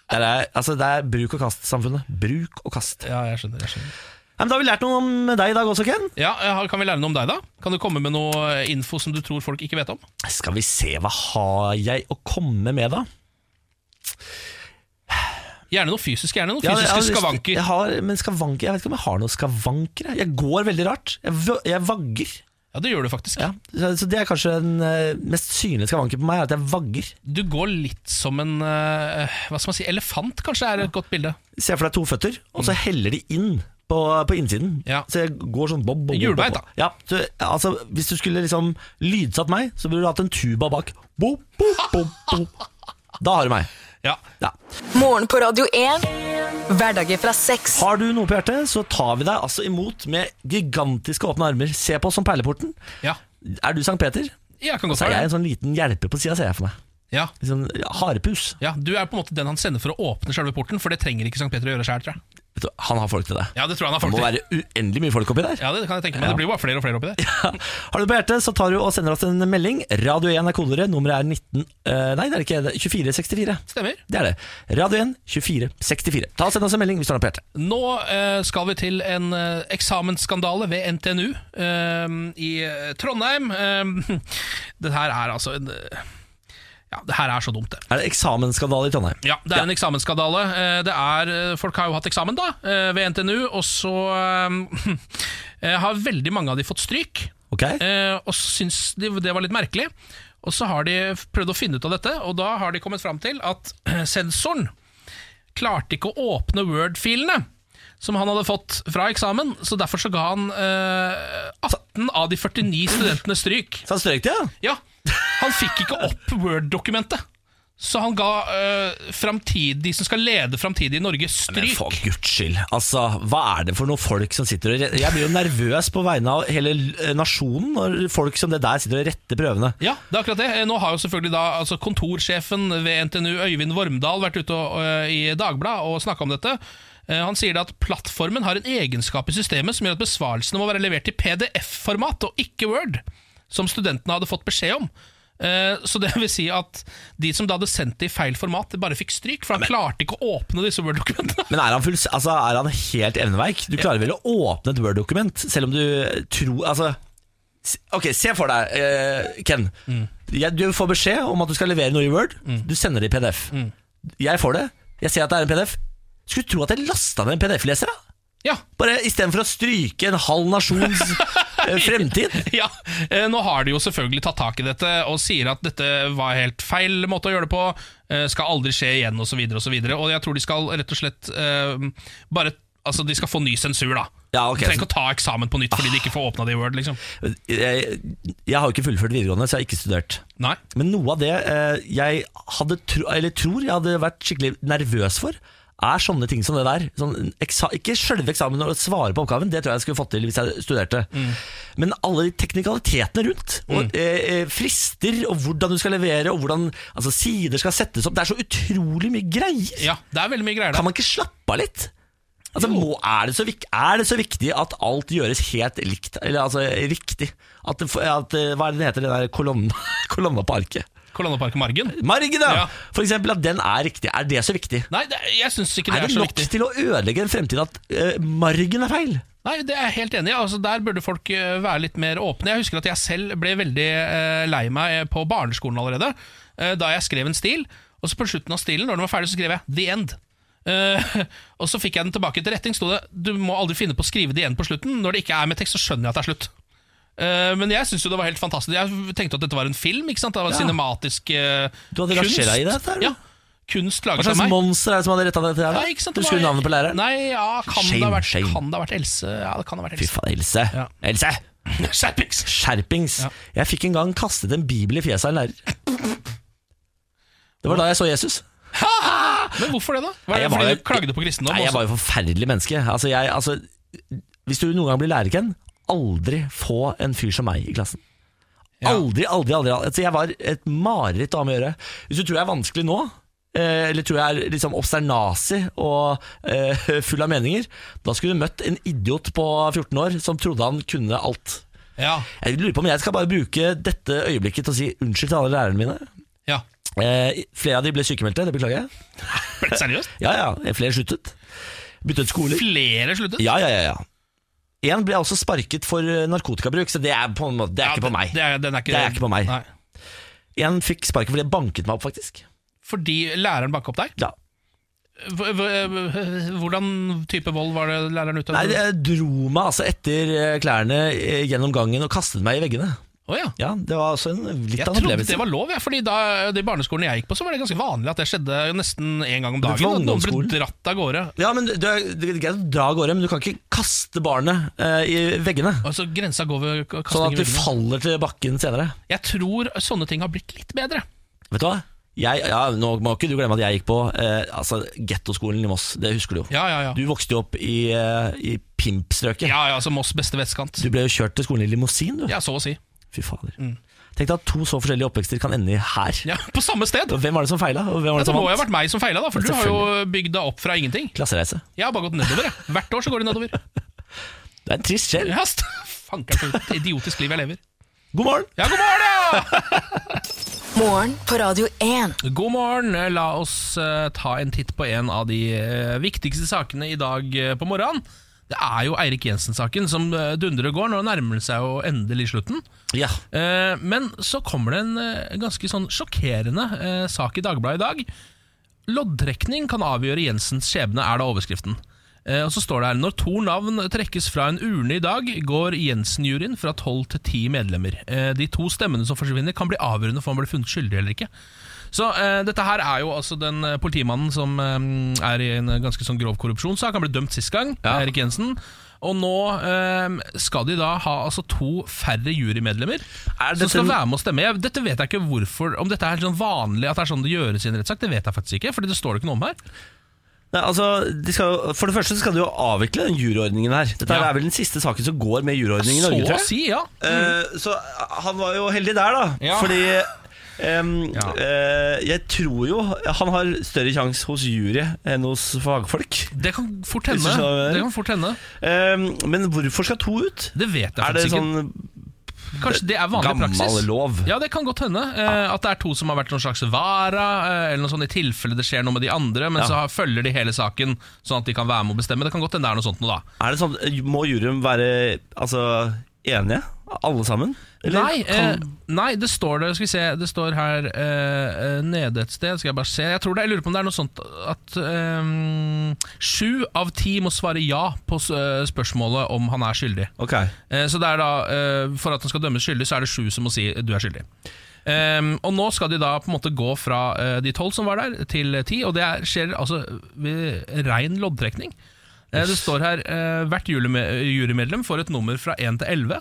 S3: Det er, altså, det er bruk og kast-samfunnet. Bruk og kast.
S4: Ja, jeg skjønner, jeg skjønner.
S3: Ja, men da har vi lært noe om deg i dag også, Ken.
S4: Ja, jeg har- Kan vi lære noe om deg, da? Kan du komme med noe eh, info som du tror folk ikke vet om?
S3: Skal vi se, hva har jeg å komme med, da?
S4: Gjerne noe fysisk. gjerne noe
S3: Ja,
S4: fysiske
S3: jeg har-
S4: skavanker.
S3: Jeg, har, men skavanker, jeg vet ikke om jeg har noen skavanker. jeg. Jeg går veldig rart. Jeg, v- jeg vagger.
S4: Ja, det gjør du faktisk.
S3: Ja. Så, så det er kanskje den eh, mest synlige skavanken på meg, er at jeg vagger.
S4: Du går litt som en eh, hva skal man si, elefant, kanskje er et godt bilde.
S3: Se for deg to føtter, og så heller de inn på, på innsiden.
S4: Mm. Ja.
S3: Så jeg går sånn bob, bob, bob, bob.
S4: Hjulbeint, da.
S3: Ja, så, altså, hvis du skulle liksom lydsatt meg, så burde du hatt en tuba bak. Bob, bob, bob, bob. Da har du meg.
S4: Ja.
S3: Ja.
S5: Morgen på Radio 1. Hverdager fra seks.
S3: Har du noe på hjertet, så tar vi deg altså imot med gigantiske åpne armer. Se på oss som perleporten.
S4: ja.
S3: Er du Sankt Peter?
S4: Jeg kan godt
S3: Så er
S4: være
S3: jeg
S4: det.
S3: en sånn liten hjelper på sida, ser jeg for meg.
S4: Ja.
S3: Litt sånn harepus.
S4: ja, Du er på en måte den han sender for å åpne selve porten, for det trenger ikke Sankt Peter å gjøre sjøl, tror jeg.
S3: Vet du, han har folk til det.
S4: Ja, Det tror jeg han har
S3: Det
S4: folk
S3: må
S4: til.
S3: være uendelig mye folk oppi der.
S4: Ja, det kan jeg tenke meg. Det blir jo bare flere og flere oppi der.
S3: Ja. [LAUGHS] Har du på hjertet, så tar du og sender oss en melding. Radio 1 er kodere, nummeret er 19 eh, Nei, det er det ikke. det er 2464.
S4: Stemmer.
S3: Det er det. Radio 1 2464. Ta og Send oss en melding hvis du har noe på hjertet.
S4: Nå eh, skal vi til en eh, eksamensskandale ved NTNU eh, i eh, Trondheim. Eh, [LAUGHS] det her er altså en eh, Ja, det her er så dumt, det.
S3: Er det eksamensskandale i Trondheim?
S4: Ja, det er en eksamensskandale. Eh, Det er, eh, folk har jo hatt eksamen da, eh, ved NTNU, og så eh, [LAUGHS] har veldig mange av de fått stryk.
S3: Ok?
S4: eh, Og syns de det var litt merkelig. Og så har de prøvd å finne ut av dette, og da har de kommet fram til at [CLEARS THROAT] eh, sensoren klarte ikke å åpne Word-filene som han hadde fått fra eksamen, så derfor så ga han eh, 18 av de 49 studentene stryk.
S3: Så han strøk det, ja?
S4: Ja, han fikk ikke opp Word-dokumentet. Så han ga eh, framtid- de som skal lede framtidig Norge,
S3: Men
S4: stryk.
S3: for guds skyld. Altså, hva er det for noen folk som sitter og Jeg blir jo nervøs på vegne av hele eh, nasjonen når folk som det der sitter og retter prøvene.
S4: Ja, det er akkurat det. Eh, Nå har jo selvfølgelig da altså kontorsjefen ved NTNU, Øyvind Vormdal, vært ute og, eh, i Dagbladet og snakka om dette. Eh, Han sier da at plattformen har en egenskap i systemet som gjør at besvarelsene må være levert i PDF-format og ikke Word, som studentene hadde fått beskjed om. Eh, Så det vil si at de som da hadde sendt det i feil format, de bare fikk stryk, for han klarte ikke å åpne disse Word-dokumentene.
S3: [LAUGHS] Men er han, fulls- altså, er han helt evneveik? Du klarer vel å åpne et Word-dokument, selv om du tror altså, s- Ok, se for deg, eh, Ken. Jeg, du får beskjed om at du skal levere noe i Word. Du sender det i PDF. Jeg får det. Jeg ser at det er en PDF. Skulle tro at jeg lasta ned en PDF-leser, da.
S4: Ja,
S3: Bare Istedenfor å stryke en halv nasjons eh, fremtid.
S4: [LAUGHS] Ja, eh, Nå har de jo selvfølgelig tatt tak i dette og sier at dette var helt feil måte å gjøre det på. eh, Skal aldri skje igjen, osv. Og, så videre, og, så videre. og jeg tror de skal rett og slett eh, bare Altså, de skal få ny sensur, da.
S3: Ja, ok,
S4: de trenger ikke å ta eksamen på nytt fordi de ikke får åpna det i Word. liksom
S3: Jeg, jeg har jo ikke fullført videregående, så jeg har ikke studert.
S4: Nei,
S3: Men noe av det eh, jeg hadde tro, eller tror jeg hadde vært skikkelig nervøs for, er sånne ting som det der. Sånn, eksa, ikke sjølve eksamen og svare på oppgaven, det tror jeg jeg skulle fått til hvis jeg studerte. Men alle de teknikalitetene rundt, og eh, eh, frister, og hvordan du skal levere, og hvordan altså, sider skal settes opp. Det er så utrolig mye greier.
S4: ja, Det er veldig mye greier
S3: Kan
S4: der.
S3: man ikke slappe av litt? Altså, må, er, det så vik, er det så viktig at alt gjøres helt likt, eller altså riktig? At, det f- at, eh, hva er det den heter, den der [LAUGHS] kolonna, kolonna på arket?
S4: Kolonnepark Margen.
S3: Margen, ja.
S4: Ja.
S3: For eksempel at den er riktig. Er det så viktig?
S4: Nei, det, jeg syns ikke det
S3: Er
S4: er,
S3: det
S4: så
S3: nok
S4: viktig.
S3: til å ødelegge en fremtid at eh, margen er feil?
S4: Nei, det er jeg helt enig i. Altså, der burde folk eh, være litt mer åpne. Jeg husker at jeg selv ble veldig eh, lei meg eh, på barneskolen allerede, eh, da jeg skrev en stil. Og så på slutten av stilen, når den var ferdig, så skrev jeg 'The End'. Eh, [LAUGHS] og så fikk jeg den tilbake til retting. Sto det 'Du må aldri finne på å skrive det igjen på slutten'. Når det ikke er med tekst, så skjønner jeg at det er slutt. Eh, men jeg syns jo det var helt fantastisk. Jeg tenkte at dette var en film. ikke sant? Det var
S3: Ja.
S4: cinematisk eh,
S3: Du hadde
S4: kunst.
S3: rangert deg i dette, eller?
S4: Ja, kunst
S3: Hva
S4: laget av
S3: slags
S4: meg.
S3: monster er det som hadde retta dette? her? da?
S4: Nei, ikke sant, det
S3: Husker du
S4: var-
S3: navnet på læreren?
S4: Nei, ja, kan, det
S3: Shame,
S4: ha vært,
S3: shame.
S4: kan det ha vært Else? Ja, det kan ha vært
S3: Fy
S4: Else.
S3: faen, Else.
S4: Ja.
S3: Else! [LAUGHS]
S4: Skjerpings!
S3: Skjerpings.
S4: Ja.
S3: Jeg fikk en gang kastet en bibel i fjeset av en lærer. Det var da jeg så Jesus.
S4: Men hvorfor det, da?
S3: Nei,
S4: Var det
S3: jeg var
S4: fordi
S3: jo-
S4: du klagde på kristendom?
S3: Nei, jeg
S4: også?
S3: var jo forferdelig menneske. Altså, jeg, altså, hvis du noen gang blir lærer, Ken, aldri få en fyr som meg i klassen. Aldri, aldri, aldri. aldri. Altså, jeg var et mareritt å ha med å gjøre. Hvis du tror jeg er vanskelig nå, eh, eller tror jeg er liksom obsternasig og eh, full av meninger, da skulle du møtt en idiot på 14 år som trodde han kunne alt.
S4: Ja,
S3: Jeg lurer på om jeg skal bare bruke dette øyeblikket til å si unnskyld til alle lærerne mine.
S4: ja.
S3: Eh, flere av de ble sykemeldte, det beklager jeg.
S4: Ble det seriøst?
S3: Ja, ja, flere sluttet. Byttet skoler.
S4: Flere sluttet?
S3: Ja, ja, ja, ja. En ble også sparket for eh, narkotikabruk, så det er, på en måte, det er ikke på meg.
S4: Det er, den er ikke,
S3: Det er ikke på meg.
S4: Nei.
S3: En fikk sparken fordi jeg banket meg opp, faktisk.
S4: Fordi læreren banka opp deg?
S3: Ja.
S4: Hv- hv- hv- Hvordan type vold var det læreren utøvde?
S3: Nei, jeg dro meg altså etter eh, klærne eh, gjennom gangen og kastet meg i veggene.
S4: Å ja.
S3: Ja, Det var altså en litt
S4: Jeg
S3: av en
S4: trodde
S3: opplevelse.
S4: det var lov, ja, Fordi da de barneskolene jeg gikk på, Så var det ganske vanlig at det skjedde nesten en gang om
S3: var
S4: dagen. at Noen ble
S3: ungdomsskolen.
S4: dratt av gårde.
S3: Ja, men du, du, er- det er greit å dra av gårde, men du kan ikke kaste barnet eh, i veggene.
S4: Altså Grensa går ved k-
S3: Sånn at
S4: kasting i
S3: du
S4: veggene.
S3: faller til bakken senere.
S4: Jeg tror sånne ting har blitt litt bedre.
S3: Vet du hva? Jeg, ja, nå må ikke du glemme at jeg gikk på eh, altså, gettoskolen i Moss. Det husker du jo.
S4: Ja, ja, ja.
S3: Du vokste jo opp i, eh, i pimpstrøket.
S4: Ja, ja, altså Moss beste vestkant.
S3: Du ble jo kjørt til skolen i limousin, du.
S4: Ja, så å si.
S3: Fy fader. Tenk deg at to så forskjellige oppvekster kan ende i her.
S4: Ja, på samme sted!
S3: Og hvem var det som feila? Og hvem var
S4: Ja,
S3: det
S4: det
S3: som
S4: må jo ha
S3: vant?
S4: vært meg som feila, da, for
S3: Ja,
S4: du har jo bygd deg opp fra ingenting.
S3: Klassereise.
S4: Jeg har bare gått nedover. Jeg. Hvert år så går det nedover.
S3: Det er en trist sjel.
S4: Ja, st- [LAUGHS] Fanker for et idiotisk liv jeg lever.
S3: God morgen!
S4: Ja, god morgen! ja!
S5: Morgen på Radio 1.
S4: God morgen. La oss eh, ta en titt på en av de eh, viktigste sakene i dag eh, på morgenen. Det er jo Eirik Jensen-saken som eh, dundrer og går. Nå nærmer det seg jo endelig slutten.
S3: Ja.
S4: Eh, Men så kommer det en eh, ganske sånn sjokkerende eh, sak i Dagbladet i dag. Loddtrekning kan avgjøre Jensens skjebne, er da overskriften. Eh, Og så står det her Når to navn trekkes fra en urne i dag, går Jensen-juryen fra tolv til ti medlemmer. Eh, De to stemmene som forsvinner, kan bli avgjørende for om han blir funnet skyldig eller ikke. Så eh, dette her er jo altså den eh, politimannen som eh, er i en ganske sånn grov korrupsjonssak. Han ble dømt sist gang, Erik Jensen. Og nå eh, skal de da ha altså to færre jurymedlemmer
S3: Er
S4: som
S3: dette
S4: skal
S3: en-
S4: være med å stemme. Jeg, dette vet jeg ikke hvorfor Om dette er sånn vanlig at det er sånn det gjøres i en rettssak, det vet jeg faktisk ikke. Fordi det står det ikke noe om her.
S3: Nei, altså, de skal, jo- for det første så skal de jo avvikle den juryordningen her. Dette
S4: Ja.
S3: er vel den siste saken som går med juryordning i
S4: Så
S3: Norge, tror
S4: å
S3: jeg.
S4: si, ja.
S3: Eh, så han var jo heldig der, da.
S4: Ja.
S3: Fordi ehm,
S4: Ja.
S3: eh, jeg tror jo han har større sjanse hos jury enn hos fagfolk.
S4: Det kan fort
S3: Hvis du
S4: hende.
S3: skjønner hva jeg mener.
S4: Det kan fort hende
S3: Ehm, men hvorfor skal to ut?
S4: Det vet jeg
S3: Er det
S4: faktisk ikke.
S3: sånn
S4: Kanskje det er vanlig
S3: gammel
S4: praksis.
S3: lov? Ah.
S4: Ja, det kan godt hende. Eh, at det er to som har vært noen slags vara, eh, eller noe sånt i tilfelle det skjer noe med de andre, men
S3: Ja.
S4: så har- følger de hele saken, sånn at de kan være med og bestemme. Det kan godt hende det er noe sånt noe, da.
S3: Er det sånn, Må juryen være altså, enige, alle sammen? Eller
S4: nei, eh,
S3: kan-
S4: nei, det står det Skal vi se, det står her eh, eh, nede et sted. Skal jeg bare se. Jeg tror det, jeg lurer på om det er noe sånt at eh, sju av ti må svare ja på s- eh, spørsmålet om han er skyldig.
S3: Ok.
S4: Eh, Så det er da, eh, For at han skal dømmes skyldig, så er det sju som må si eh, du er skyldig. Ehm, og Nå skal de da på en måte gå fra eh, de tolv som var der, til ti. Og det er, skjer altså ved rein loddtrekning. Eh, det står her eh, hvert juryme- jurymedlem får et nummer fra 1 til 11.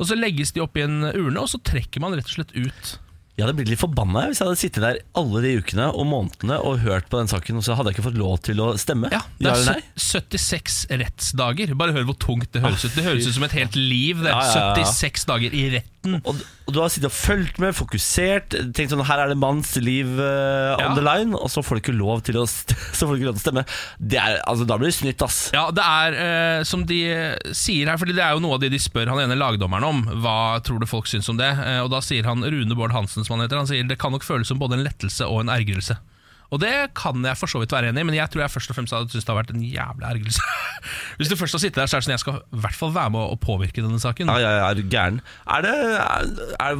S4: Og Så legges de opp i en urne, og så trekker man rett og slett ut.
S3: Jeg hadde blitt litt forbanna jeg, hvis jeg hadde sittet der alle de ukene og månedene og hørt på den saken, og så hadde jeg ikke fått lov til å stemme.
S4: Ja, Det
S3: eller
S4: er
S3: nei?
S4: 76 rettsdager. Bare hør hvor tungt det høres ut. Det høres ut som et helt liv. Det
S3: Ja, ja, ja.
S4: 76 dager i retten.
S3: og, og du har sittet og fulgt med, fokusert, tenkt sånn her er det manns liv eh, on
S4: Ja.
S3: the line, og så får du ikke lov til å, st [LAUGHS] så får du ikke lov til å stemme. Det er, altså, da blir det snytt, ass.
S4: Ja, det er eh, som de sier her, Fordi det er jo noe av det de spør han ene lagdommeren om. Hva tror du folk syns om det? Eh, og da sier han Rune Bård Hansen, som han heter, han sier det kan nok føles som både en lettelse og en ergrelse. Og det kan jeg for så vidt være enig i, men jeg tror jeg først og fremst hadde syntes det har vært en jævla ergrelse. [LAUGHS] Hvis du først har sittet der, så er det sånn jeg skal i hvert fall være med å påvirke denne saken.
S3: Ja, ja, ja, er du gæren. Er det, er, er,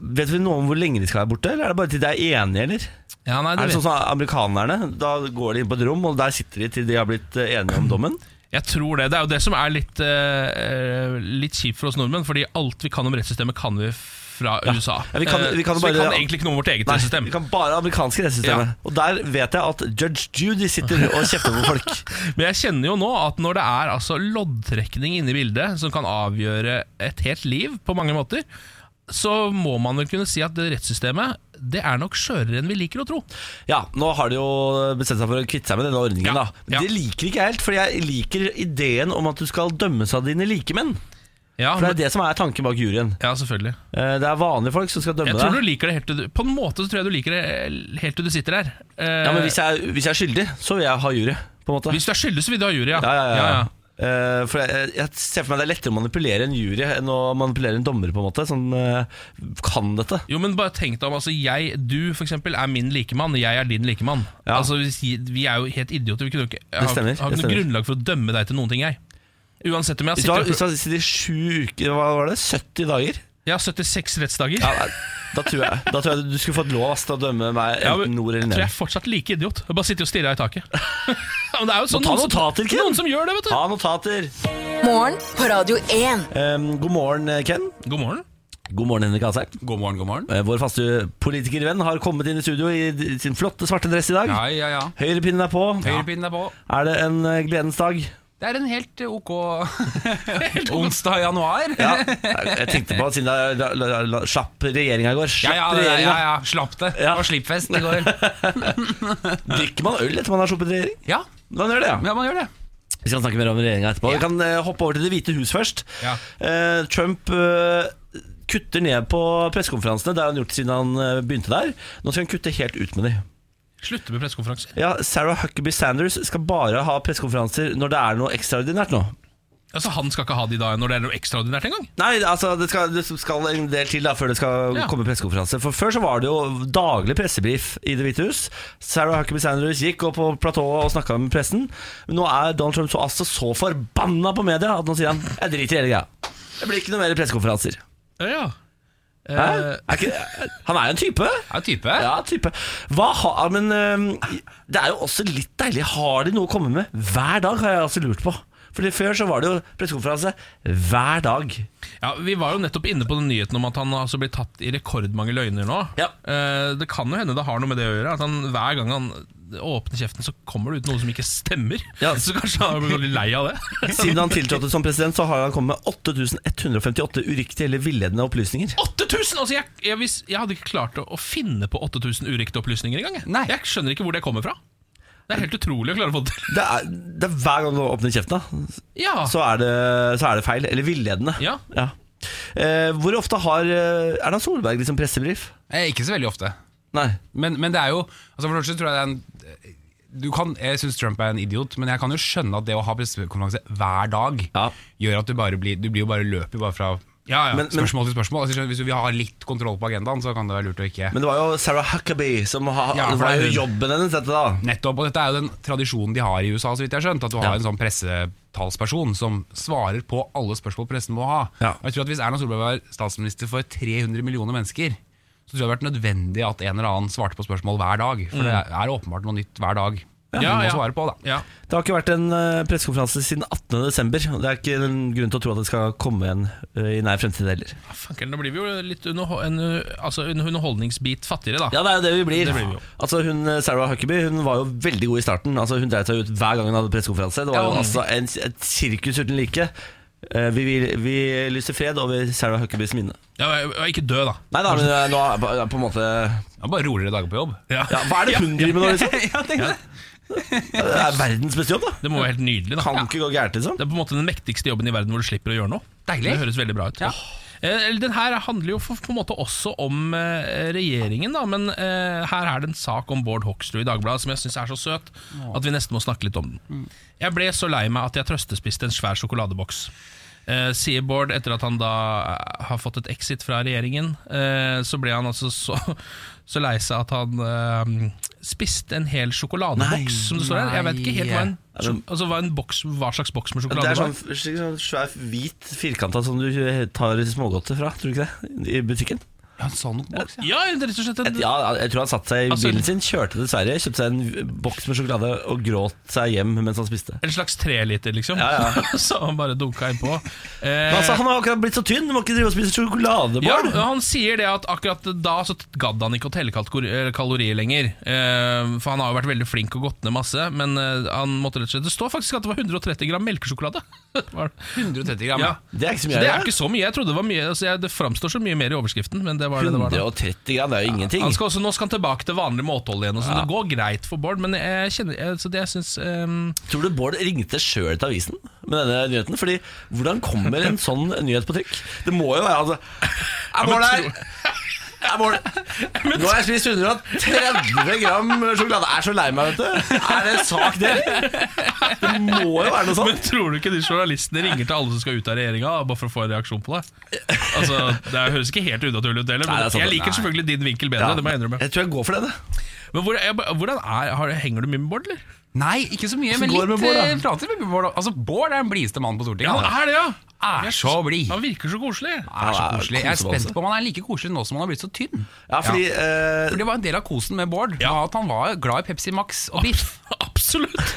S3: vet vi noe om hvor lenge de skal være borte, eller er det bare til de er enige, eller?
S4: Ja, nei,
S3: Er det
S4: vet-
S3: sånn som amerikanerne? Da går de inn på et rom, og der sitter de til de har blitt eh, enige om dommen.
S4: Jeg tror det. Det er jo det som er litt, eh, litt kjipt for oss nordmenn, fordi alt vi kan om rettssystemet, kan vi fra USA.
S3: Ja, vi kan-
S4: Eh,
S3: vi kan
S4: så
S3: bare-
S4: vi kan egentlig ikke noe om vårt eget
S3: Nei,
S4: rettssystem.
S3: vi kan bare amerikanske rettssystemet.
S4: Ja.
S3: Og der vet jeg at judge Judy sitter og kjefter på folk.
S4: [LAUGHS] Men jeg kjenner jo nå at når det er altså loddtrekning inne i bildet, som kan avgjøre et helt liv på mange måter, så må man vel kunne si at det rettssystemet det er nok skjørere enn vi liker å tro.
S3: Ja, nå har de jo bestemt seg for å kvitte seg med denne ordningen.
S4: Ja,
S3: da Men
S4: ja.
S3: Det liker ikke jeg helt, for jeg liker ideen om at du skal dømmes av dine likemenn.
S4: Ja,
S3: For det er det som er tanken bak juryen.
S4: ja selvfølgelig.
S3: Eh, Det er vanlige folk som skal dømme
S4: Jeg tror du
S3: deg.
S4: liker det helt til du På en måte så tror jeg du liker det helt til du sitter her. Eh,
S3: Ja, men hvis jeg, hvis jeg er skyldig, så vil jeg ha jury. På en måte.
S4: hvis du er skyldig, så vil du ha jury, ja.
S3: ja, ja, ja.
S4: Ja, ja.
S3: Eh, for jeg, jeg ser for meg det er lettere å manipulere en jury enn å manipulere en dommer. på en måte Sånn, eh, Kan dette?
S4: Jo, men bare tenk deg om altså, jeg, Du for eksempel er min likemann, jeg er din likemann.
S3: Ja.
S4: Altså, hvis- vi er jo helt idioter. Vi kunne jo ikke, jeg har,
S3: stemmer,
S4: har
S3: det
S4: ikke noe
S3: stemmer.
S4: grunnlag for å dømme deg til noen ting, jeg. Uansett om jeg
S3: Hvis du har,
S4: sitter
S3: hvis du har sittet i sju uker, hva var det? 70 dager?
S4: Jeg har 76 rettsdager.
S3: Ja, nei, da, tror jeg, da tror jeg du skulle fått lov ass, til å dømme meg
S4: Ja,
S3: enten
S4: men
S3: nord eller
S4: Jeg tror jeg er
S3: ned.
S4: fortsatt like idiot. Jeg bare sitter og stirrer i taket. [LAUGHS] ja, men det er jo sånn
S3: ta
S4: noen,
S3: notater,
S4: som,
S3: Ken.
S4: noen som gjør det, vet du.
S3: Ta notater!
S5: Morgen på Radio 1.
S3: Em, god morgen, eh, Ken.
S4: God morgen.
S3: God morgen, Henrik Asheim.
S7: God morgen, god morgen.
S3: Eh, Vår faste politikervenn har kommet inn i studio i d- sin flotte svarte dress i dag.
S7: Ja, ja, ja.
S3: Høyrepinnen er på.
S7: Høyrepinnen er på.
S3: Er det en eh, gledens dag?
S7: Det er en helt eh, ok
S3: [LAUGHS]
S7: onsdag i januar.
S3: Ja, jeg tenkte på at siden det er- la- la- la- slapp regjeringa i går.
S7: Ja,
S3: Slapp
S7: ja, det,
S3: regjeringen.
S7: ja, ja. Slapp det. Det
S3: Ja.
S7: var slippfest i går.
S3: [LAUGHS] Drikker man øl etter man har sluppet regjering?
S7: Ja,
S3: Man gjør det, ja.
S7: ja man gjør det.
S3: Vi skal snakke mer om regjeringa etterpå. Vi
S7: Ja.
S3: kan eh, hoppe over til Det hvite hus først.
S7: Ja.
S3: Eh, Trump eh, kutter ned på pressekonferansene. Det har han gjort siden han eh, begynte der. Nå skal han kutte helt ut med de.
S4: Slutte med pressekonferanser.
S3: Ja, Sarah Huckaby Sanders skal bare ha pressekonferanser når det er noe ekstraordinært nå.
S4: Altså, han skal ikke ha de da når det er noe ekstraordinært engang.
S3: Nei, altså det skal, det skal en del til da før det skal
S4: Ja.
S3: komme pressekonferanse. For Før så var det jo daglig pressebrief i Det hvite hus. Sarah Huckaby Sanders gikk opp på platået og snakka med pressen. Men nå er Donald Trump så, altså, så forbanna på media at nå sier han jeg driter i hele greia. Det blir ikke noe mer pressekonferanser.
S4: Ja, ja.
S3: Hæ?
S4: Eh,
S3: Er ikke, han er jo en type.
S7: Er jo type.
S3: Ja, type. Hva ha, ja, men øhm, det er jo også litt deilig. Har de noe å komme med hver dag, har jeg altså lurt på. Fordi Før så var det jo pressekonferanse hver dag.
S4: ja, Vi var jo nettopp inne på den nyheten om at han altså blir tatt i rekordmange løgner nå.
S3: Ja.
S4: Eh, det kan jo hende det har noe med det å gjøre. At han, hver gang han åpner kjeften, så kommer det ut noe som ikke stemmer.
S3: Ja.
S4: [LAUGHS] Så kanskje han blir veldig lei av det.
S3: Siden han tiltrådte som president, så har han kommet med 8158 uriktige eller villedende opplysninger.
S4: 8000! Altså, jeg, jeg, hvis, jeg hadde ikke klart å, å finne på 8000 uriktige opplysninger engang. jeg.
S7: Nei.
S4: Jeg skjønner ikke hvor det kommer fra. Det er helt utrolig å klare å få det
S3: [LAUGHS]
S4: til.
S3: Det er, det er Hver gang du åpner kjeften, da,
S7: Ah.
S4: Ja.
S3: så er det, så er det feil. Eller villedende.
S4: Ja.
S3: Eh, hvor ofte har eh, Erna Solberg liksom pressebrief?
S7: Eh, Ikke så veldig ofte.
S3: Nei.
S7: Men, men det er jo altså For det første tror jeg det er en du kan, Jeg syns Trump er en idiot, men jeg kan jo skjønne at det å ha pressekonferanse hver dag
S3: Ja.
S7: gjør at du bare blir Du blir jo bare løper bare fra
S4: Ja, ja.
S3: Men-
S7: spørsmål til spørsmål. Altså, skjønner du, hvis du vil ha litt kontroll på agendaen, så kan det være lurt å ikke
S3: Men det var jo Sarah Huckaby som har,
S7: Ja,
S3: det
S7: for
S3: var
S7: det er
S3: jo
S7: hun.
S3: jobben hennes, dette da.
S7: Nettopp, og Dette er jo den tradisjonen de har i USA, så vidt jeg har skjønt. At du har
S3: Ja.
S7: en sånn pressetalsperson som svarer på alle spørsmål pressen må ha.
S3: Ja.
S7: Og jeg tror at Hvis Erna Solberg var statsminister for 300 millioner mennesker, så tror jeg det hadde vært nødvendig at en eller annen svarte på spørsmål hver dag.
S3: Mm.
S7: For det er åpenbart noe nytt hver dag. du
S4: Ja,
S7: må
S4: ja.
S7: svare på da
S4: ja.
S3: Det har ikke vært en eh, pressekonferanse siden 18. desember. og Det er ikke en grunn til å tro at det skal komme en eh, i nær fremtid heller.
S4: Fanken, da blir vi jo litt underho en, altså, en underholdningsbit fattigere, da.
S3: Ja, det er jo det vi blir.
S4: Det blir vi jo.
S3: Altså hun, eh, Sarah Huckaby hun var jo veldig god i starten. Altså Hun dreit seg ut hver gang hun hadde pressekonferanse. Det var jo altså en, et sirkus uten like. Eh, Vi, vil- vi lyser fred over Sarah Huckabys minne.
S4: Ja, og- og ikke dø, da.
S3: Nei da, men eh, nå er det på en måte
S7: Ja, bare roligere dager på jobb.
S4: [LAUGHS] Ja.
S3: ja, Hva er det hun driver med nå, [LAUGHS] liksom? Det er verdens beste jobb, da.
S4: Det må være helt nydelig. da
S3: Kan ikke gå gærent, liksom.
S4: Det er på en måte den mektigste jobben i verden hvor du slipper å gjøre noe.
S7: Deilig.
S4: Det høres veldig bra ut. Eh, eller Den her handler jo for, på en måte også om eh, regjeringen, da, men eh, her er det en sak om Bård Hoksrud i Dagbladet som jeg syns er så søt at vi nesten må snakke litt om den. Jeg ble så lei meg at jeg trøstespiste en svær sjokoladeboks. Eh, sier Bård, etter at han da eh, har fått et exit fra regjeringen, eh, så ble han altså så, [LAUGHS] så lei seg at han eh, spiste en hel
S3: Nei,
S4: sjokoladeboks, som det står her. Jeg vet ikke helt hva en, altså, hva, en boks, hva slags boks med
S3: Det
S4: sjokolade
S3: er sånn, slik sånn svær hvit firkanta som du tar smågodter fra, tror du ikke det? I butikken.
S7: Ja, en sånn boks, ja.
S4: Ja, det er rett og slett en,
S3: Ja, jeg tror han satte seg i
S4: Altså-
S3: bilen sin, kjørte til Sverige, kjøpte seg en boks med sjokolade og gråt seg hjem mens han spiste.
S4: en slags treliter, liksom. [LAUGHS] så han bare dunka innpå. [LAUGHS] Eh,
S3: Men altså, han har akkurat blitt så tynn, du må ikke drive og spise
S4: ja,
S3: sjokoladebarn!
S4: han sier det at akkurat da så gadd han ikke å telle kalkor- eller kalorier lenger. Eh, for han har jo vært veldig flink og gått ned masse, men eh, han måtte rett og slett Det står faktisk at det var 130 gram melkesjokolade. [LAUGHS] Var det?
S7: 130 gram.
S4: ja.
S7: Ja.
S3: Det er ikke så
S4: Så
S3: mye.
S4: det er jo ikke så mye. Jeg trodde Det var mye altså jeg, Det framstår så mye mer i overskriften, men det var det det var. da.
S3: 130 gram, det er jo ingenting.
S4: Han skal også, nå skal han tilbake til vanlig måtehold igjen. Og så Det går greit for Bård, men jeg kjenner, jeg, så det jeg syns eh,
S3: Tror du Bård ringte sjøl til avisen? med denne nyheten. Fordi hvordan kommer en sånn nyhet på trykk? Det må jo være altså Jeg mål her! Jeg mål. Nå har jeg spist 130 gram sjokolade. Jeg er så lei meg, vet du. Er det en sak, det? Det må jo være noe
S4: Men
S3: sånt.
S4: tror du ikke de journalistene ringer til alle som skal ut av regjeringa, bare for å få en reaksjon på det? Altså, Det høres ikke helt unaturlig ut heller,
S3: Nei,
S4: men
S3: det er sant,
S4: jeg liker
S3: nei.
S4: selvfølgelig din vinkel bedre. det må jeg innrømme.
S3: jeg tror jeg går for den. jeg.
S4: Men hvor, jeg, hvordan er, har, Henger du mye med Bård, eller?
S7: Nei, ikke så mye, men
S3: går det med
S7: litt
S3: Bård, da?
S7: eh, prater med Bård. Altså, Bård er den blideste mannen på Stortinget.
S4: Han er det, ja!
S7: Han er så blid.
S4: Han virker så koselig. [LAUGHS]
S7: Han er så
S3: Han er
S7: koselig. Jeg er
S3: kosebamse.
S7: spent på om han er like koselig nå som han har blitt så tynn.
S3: Ja, fordi eh,
S7: For Det var en del av kosen med Bård, var at han var glad i Pepsi Max
S3: Ah,
S7: og biff.
S4: Absolutt!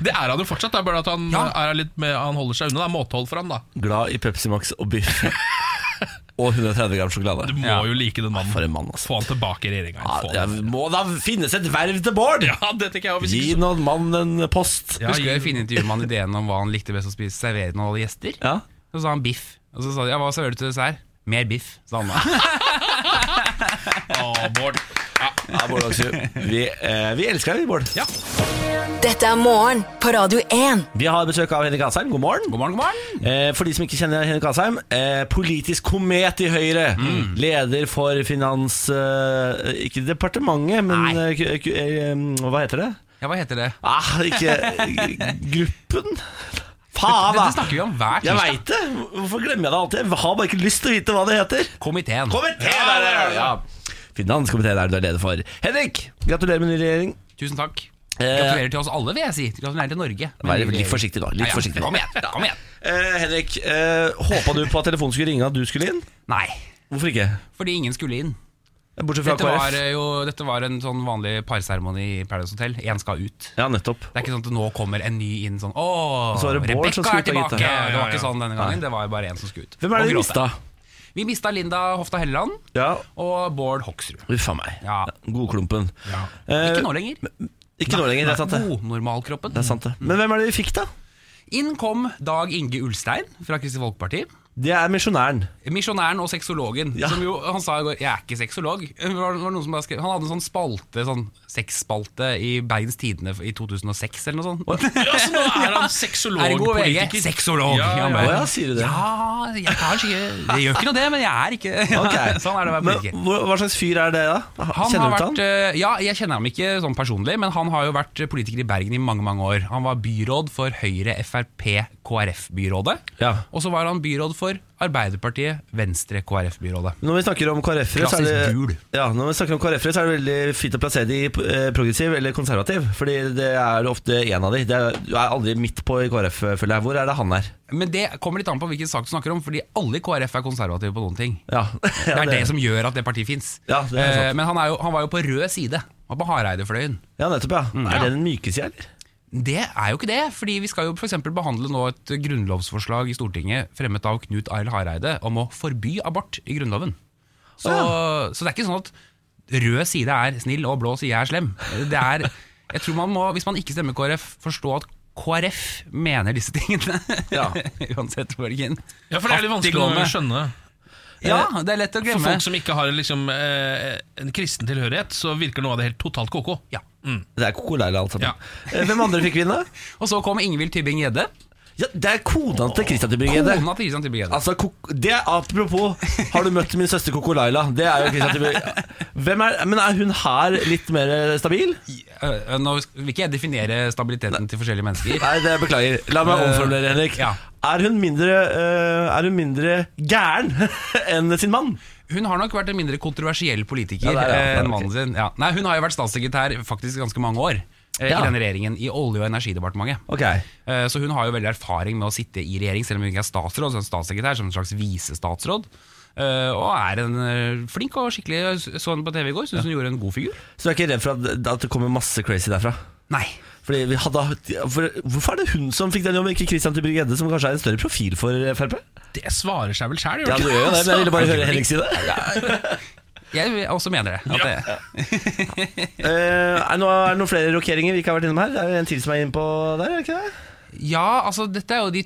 S4: Det er han jo fortsatt, det er bare at han, er litt med, han holder seg unna. Det er måtehold for han, da.
S3: glad i Pepsi Max og
S4: [LAUGHS]
S3: biff. Og 130 gram sjokolade.
S4: Du må
S7: Ja.
S4: jo like den mannen.
S3: For en mann, altså.
S4: Få han tilbake i regjeringa.
S3: Ja,
S4: Få han.
S3: det må da finnes et verv til Bård!
S4: Ja, det tenker jeg også, hvis
S3: Gi
S4: ikke så-
S3: nå mannen en post.
S4: Ja,
S7: Husker du
S4: gi-
S7: jeg fine intervjuet med han ideen om hva han likte best å spise? Servere når han hadde gjester?
S3: Ja.
S7: Så sa han biff. Og så sa de ja, hva serverer du til dessert? Mer biff, sa han
S3: [LAUGHS]
S7: da.
S4: Å, Bård. Ja.
S3: Ja, Bård Hoksrud. Vi, eh, vi elsker deg, Bård.
S5: Dette er morgen på Radio 1.
S3: Vi har besøk av Henrik Asheim. God morgen.
S7: God morgen, god morgen!
S3: Eh, for de som ikke kjenner Henrik Asheim, eh, politisk komet i Høyre.
S4: Mm.
S3: Leder for finans... Eh, ikke departementet, men eh, ku- ku- eh, Hva heter det?
S7: Ja, hva heter det?
S3: Ah, ikke Gruppen? Faen,
S7: Dette
S3: da!
S7: snakker vi om hver
S3: Jeg
S7: tirsdag.
S3: veit det! Hvorfor glemmer jeg det alltid? Jeg har bare ikke lyst til å vite hva det heter.
S7: Komiteen.
S3: Komiteen er det! Ja. Finanskomiteen er det du er leder for. Henrik, gratulerer med ny regjering.
S7: Tusen takk. Gratulerer til oss alle, vil jeg si. Gratulerer til Norge.
S3: Eh. Vær litt forsiktig nå.
S7: Ja,
S3: Litt
S7: ja.
S3: forsiktig nå.
S7: Kom igjen, kom igjen.
S3: Eh, Henrik, eh, håpa du på at telefonen skulle ringe at du skulle inn?
S7: Nei,
S3: Hvorfor ikke?
S7: fordi ingen skulle inn.
S3: Bortsett fra
S7: Dette var,
S3: KrF.
S7: eh, jo, dette var en sånn vanlig parseremoni i Paradise Hotel. Én skal ut.
S3: Ja, nettopp.
S7: Det er ikke sånn at nå kommer en ny inn sånn Å,
S3: så var det Bård
S7: Rebekka
S3: som skulle
S7: er
S3: ut av
S7: tilbake!
S3: gitt, ja.
S7: Det var ikke sånn denne gangen. Det var jo bare én som skulle ut.
S3: Hvem er det
S7: Og
S3: vi
S7: gråte.
S3: mista?
S7: Vi mista Linda Hofta Helleland
S3: Ja,
S7: og Bård Hoksrud.
S3: uff a meg.
S7: Ja.
S3: Godklumpen. Eh,
S7: Ikke nå lenger.
S3: Ikke nå lenger, det er sant det.
S7: Godnormalkroppen.
S3: Det er sant det. Men hvem er det vi fikk, da?
S7: Inn kom Dag Inge Ulstein fra Kristelig Folkeparti.
S3: Det er misjonæren.
S7: Misjonæren og sexologen.
S3: Ja.
S7: Som jo, han sa i går 'jeg er ikke sexolog'. Det var- det var noen som bare skrev- Han hadde en sånn spalte, sånn sexspalte i Bergens Tidende i 2006 eller noe sånt.
S4: Ja, så nå er han sexolog,
S7: Ergo VG,
S4: politiker.
S7: sexolog.
S4: Ja, ja,
S7: Han
S3: Å
S7: bare,
S3: ja, sier du det?
S7: Ja, jeg har ikke, det gjør ikke noe det, men jeg er ikke
S3: [LAUGHS] Ok.
S7: [LAUGHS] Sånn er det å være politiker.
S3: Men, hvor- hva slags fyr er det, da? Ha-
S7: Han
S3: Kjenner
S7: har
S3: du
S7: vært,
S3: til han?
S7: eh, ja, Jeg kjenner ham ikke sånn personlig, men han har jo vært politiker i Bergen i mange mange år. Han var byråd for Høyre, Frp, KrF-byrådet.
S3: Ja.
S7: Og så var han byråd for Arbeiderpartiet, Venstre, KrF-byrådet.
S3: Når vi snakker om KrF-ere, så, er
S7: Klassisk
S3: det-
S7: gul.
S3: ja, når vi snakker om KrF-ere, så er det veldig fint å plassere de i eh, progressiv eller konservativ. Fordi det er ofte én av de. Det er, du er aldri midt på i KrF, føler jeg. Hvor er det han er?
S7: Men det kommer litt an på hvilken sak du snakker om, fordi alle i KrF er konservative på noen ting.
S3: Ja, [LAUGHS]
S7: Det
S3: ja,
S7: er det som gjør at det partiet fins.
S3: Ja, det er sant.
S7: men han, er jo, han var jo på rød side. Han var på Hareidefløyen.
S3: Ja, nettopp, ja.
S7: Mm,
S3: Er det den myke sida, eller?
S7: Det er jo ikke det, fordi vi skal jo f.eks. behandle nå et grunnlovsforslag i Stortinget fremmet av Knut Arild Hareide om å forby abort i Grunnloven. Så, så det er ikke sånn at rød side er snill og blå side er slem. Det er, jeg tror man må, Hvis man ikke stemmer KrF, forstå at KrF mener disse tingene.
S3: Ja.
S7: [LAUGHS] Uansett, Borgen.
S4: Ja, for det er litt vanskelig å
S7: Fattiggående.
S4: skjønne.
S3: Eh,
S7: Ja, det er lett å
S4: For
S7: glemme.
S4: folk som ikke har liksom, eh, en kristen tilhørighet, så virker noe av det helt totalt koko.
S7: Ja.
S3: Det er Kokoleila, alt sammen.
S4: Ja.
S3: Eh, Hvem andre fikk
S7: [LAUGHS]
S3: vinne?
S7: Og så kom Ingvild Tybing-Gjedde.
S3: Ja, det er kona til Christian Tybring-Gjedde.
S7: Kona til Christian Tybing-Gjedde.
S3: Altså, kok- det er Apropos, har du møtt min søster Kokoleila? Det er jo Christian Tybring Hvem er Men er hun her litt mer stabil?
S7: Eh, Nå vil ikke jeg definere stabiliteten til forskjellige mennesker.
S3: Nei, det beklager. La meg omformulere, Henrik.
S7: ja.
S3: Er hun mindre eh, Er hun mindre gæren [LAUGHS] enn sin mann?
S7: Hun har nok vært en mindre kontroversiell politiker
S3: Ja, det er det,
S7: eh,
S3: ja,
S7: enn
S3: ok.
S7: mannen sin. Ja. Nei, hun har jo vært statssekretær faktisk ganske mange år eh,
S3: Ja.
S7: i denne regjeringen, i Olje- og energidepartementet.
S3: Ok.
S7: Eh, Så hun har jo veldig erfaring med å sitte i regjering, selv om hun ikke er statsråd, så er hun statssekretær som en slags visestatsråd. Eh, Og er en eh, flink og skikkelig Så henne på TV i går, syns hun gjorde en god figur.
S3: Så du er ikke redd for at, at det kommer masse crazy derfra?
S7: Nei.
S3: Fordi vi hadde, for, hvorfor er det hun som fikk den jobben, ikke Christian Tybring-Gjedde, som kanskje er en større profil for Frp?
S4: Det svarer seg vel sjæl,
S3: Ja,
S4: gjør
S3: du
S4: det
S3: gjør jo det, men jeg ville bare høre Henrik si det.
S7: Altså, Jeg vil- også mener det. At det
S3: Eh, er, nå, er det noen flere rokeringer vi ikke har vært innom her? Det er jo en til som er inne på der, er det ikke det?
S7: ja, altså, dette er jo de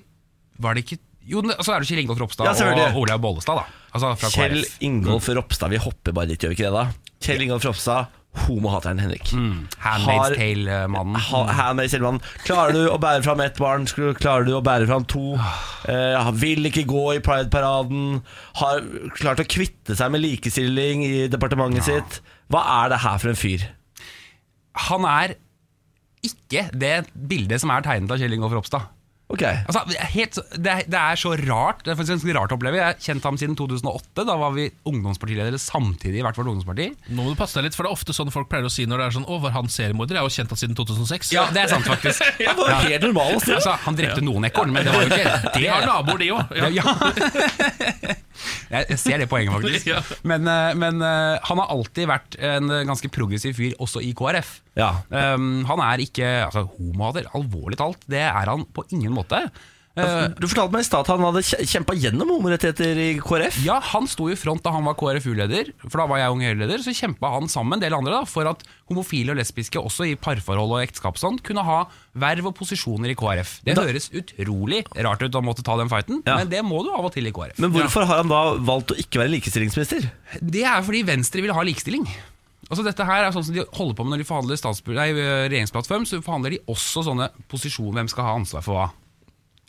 S7: Var det ikke Jo, så altså, er det Kjell Ingolf Ropstad
S3: Ja, selvfølgelig.
S7: og Olaug Bollestad, da. Altså fra
S3: Kjell
S7: KrF. Mm.
S3: Ingolf Ropstad, vi hopper bare litt, gjør vi ikke det da? Kjell Ingolf Ropstad, homohateren Henrik. Har-
S7: Mm. Handmaid's Mm. Tale-mannen.
S3: Ha- Handmaid's Tale-mannen. Klarer du å bære fram ett barn, skru- klarer du å bære fram to.
S7: Ah.
S3: Eh, vil ikke gå i Pride-paraden. Har klart å kvitte seg med likestilling i departementet sitt. Hva er det her for en fyr?
S7: Han er ikke det bildet som er tegnet av Kjell Ingolf Ropstad.
S3: Ok,
S7: Altså, helt, det, er- det er så rart. Det er faktisk ganske rart å oppleve. Jeg har kjent ham siden 2008. Da var vi ungdomspartiledere samtidig i hvert vårt ungdomsparti.
S4: Nå må du passe deg litt, for det er ofte sånn folk pleier å si når det er sånn Å, var han seriemorder? Jeg har jo kjent han siden 2006.
S7: Ja,
S4: [LAUGHS]
S7: det er sant, faktisk.
S3: Han var helt normal og snill.
S7: Altså, han drepte noen ekorn, men det var jo ikke
S4: De har naboer, de òg.
S7: Ja. [LAUGHS] Jeg ser det poenget, faktisk.
S4: Ja.
S7: Men, eh, men eh, han har alltid vært en ganske progressiv fyr, også i KrF.
S3: Ja.
S7: Um, han er ikke altså, homohater, alvorlig talt. Det er han på ingen måte. Eh,
S3: Du fortalte meg i stad at han hadde kje- kjempa gjennom homorettigheter i KrF.
S7: ja, Han sto i front da han var KrFU-leder, for da var jeg ung Høyre-leder. Så kjempa han sammen med en del andre da, for at homofile og lesbiske også i parforhold og ekteskap og sånn, kunne ha verv og posisjoner i KrF. Det høres utrolig rart ut å måtte ta den fighten,
S3: Ja.
S7: men det må du av og til i KrF.
S3: Men hvorfor har han da valgt å ikke være likestillingsminister?
S7: Det er fordi Venstre vil ha likestilling. Altså dette her er sånn som De holder på med når de forhandler statsbu- nei, eh, regjeringsplattform, så forhandler de også sånne posisjoner, hvem skal ha ansvar for hva.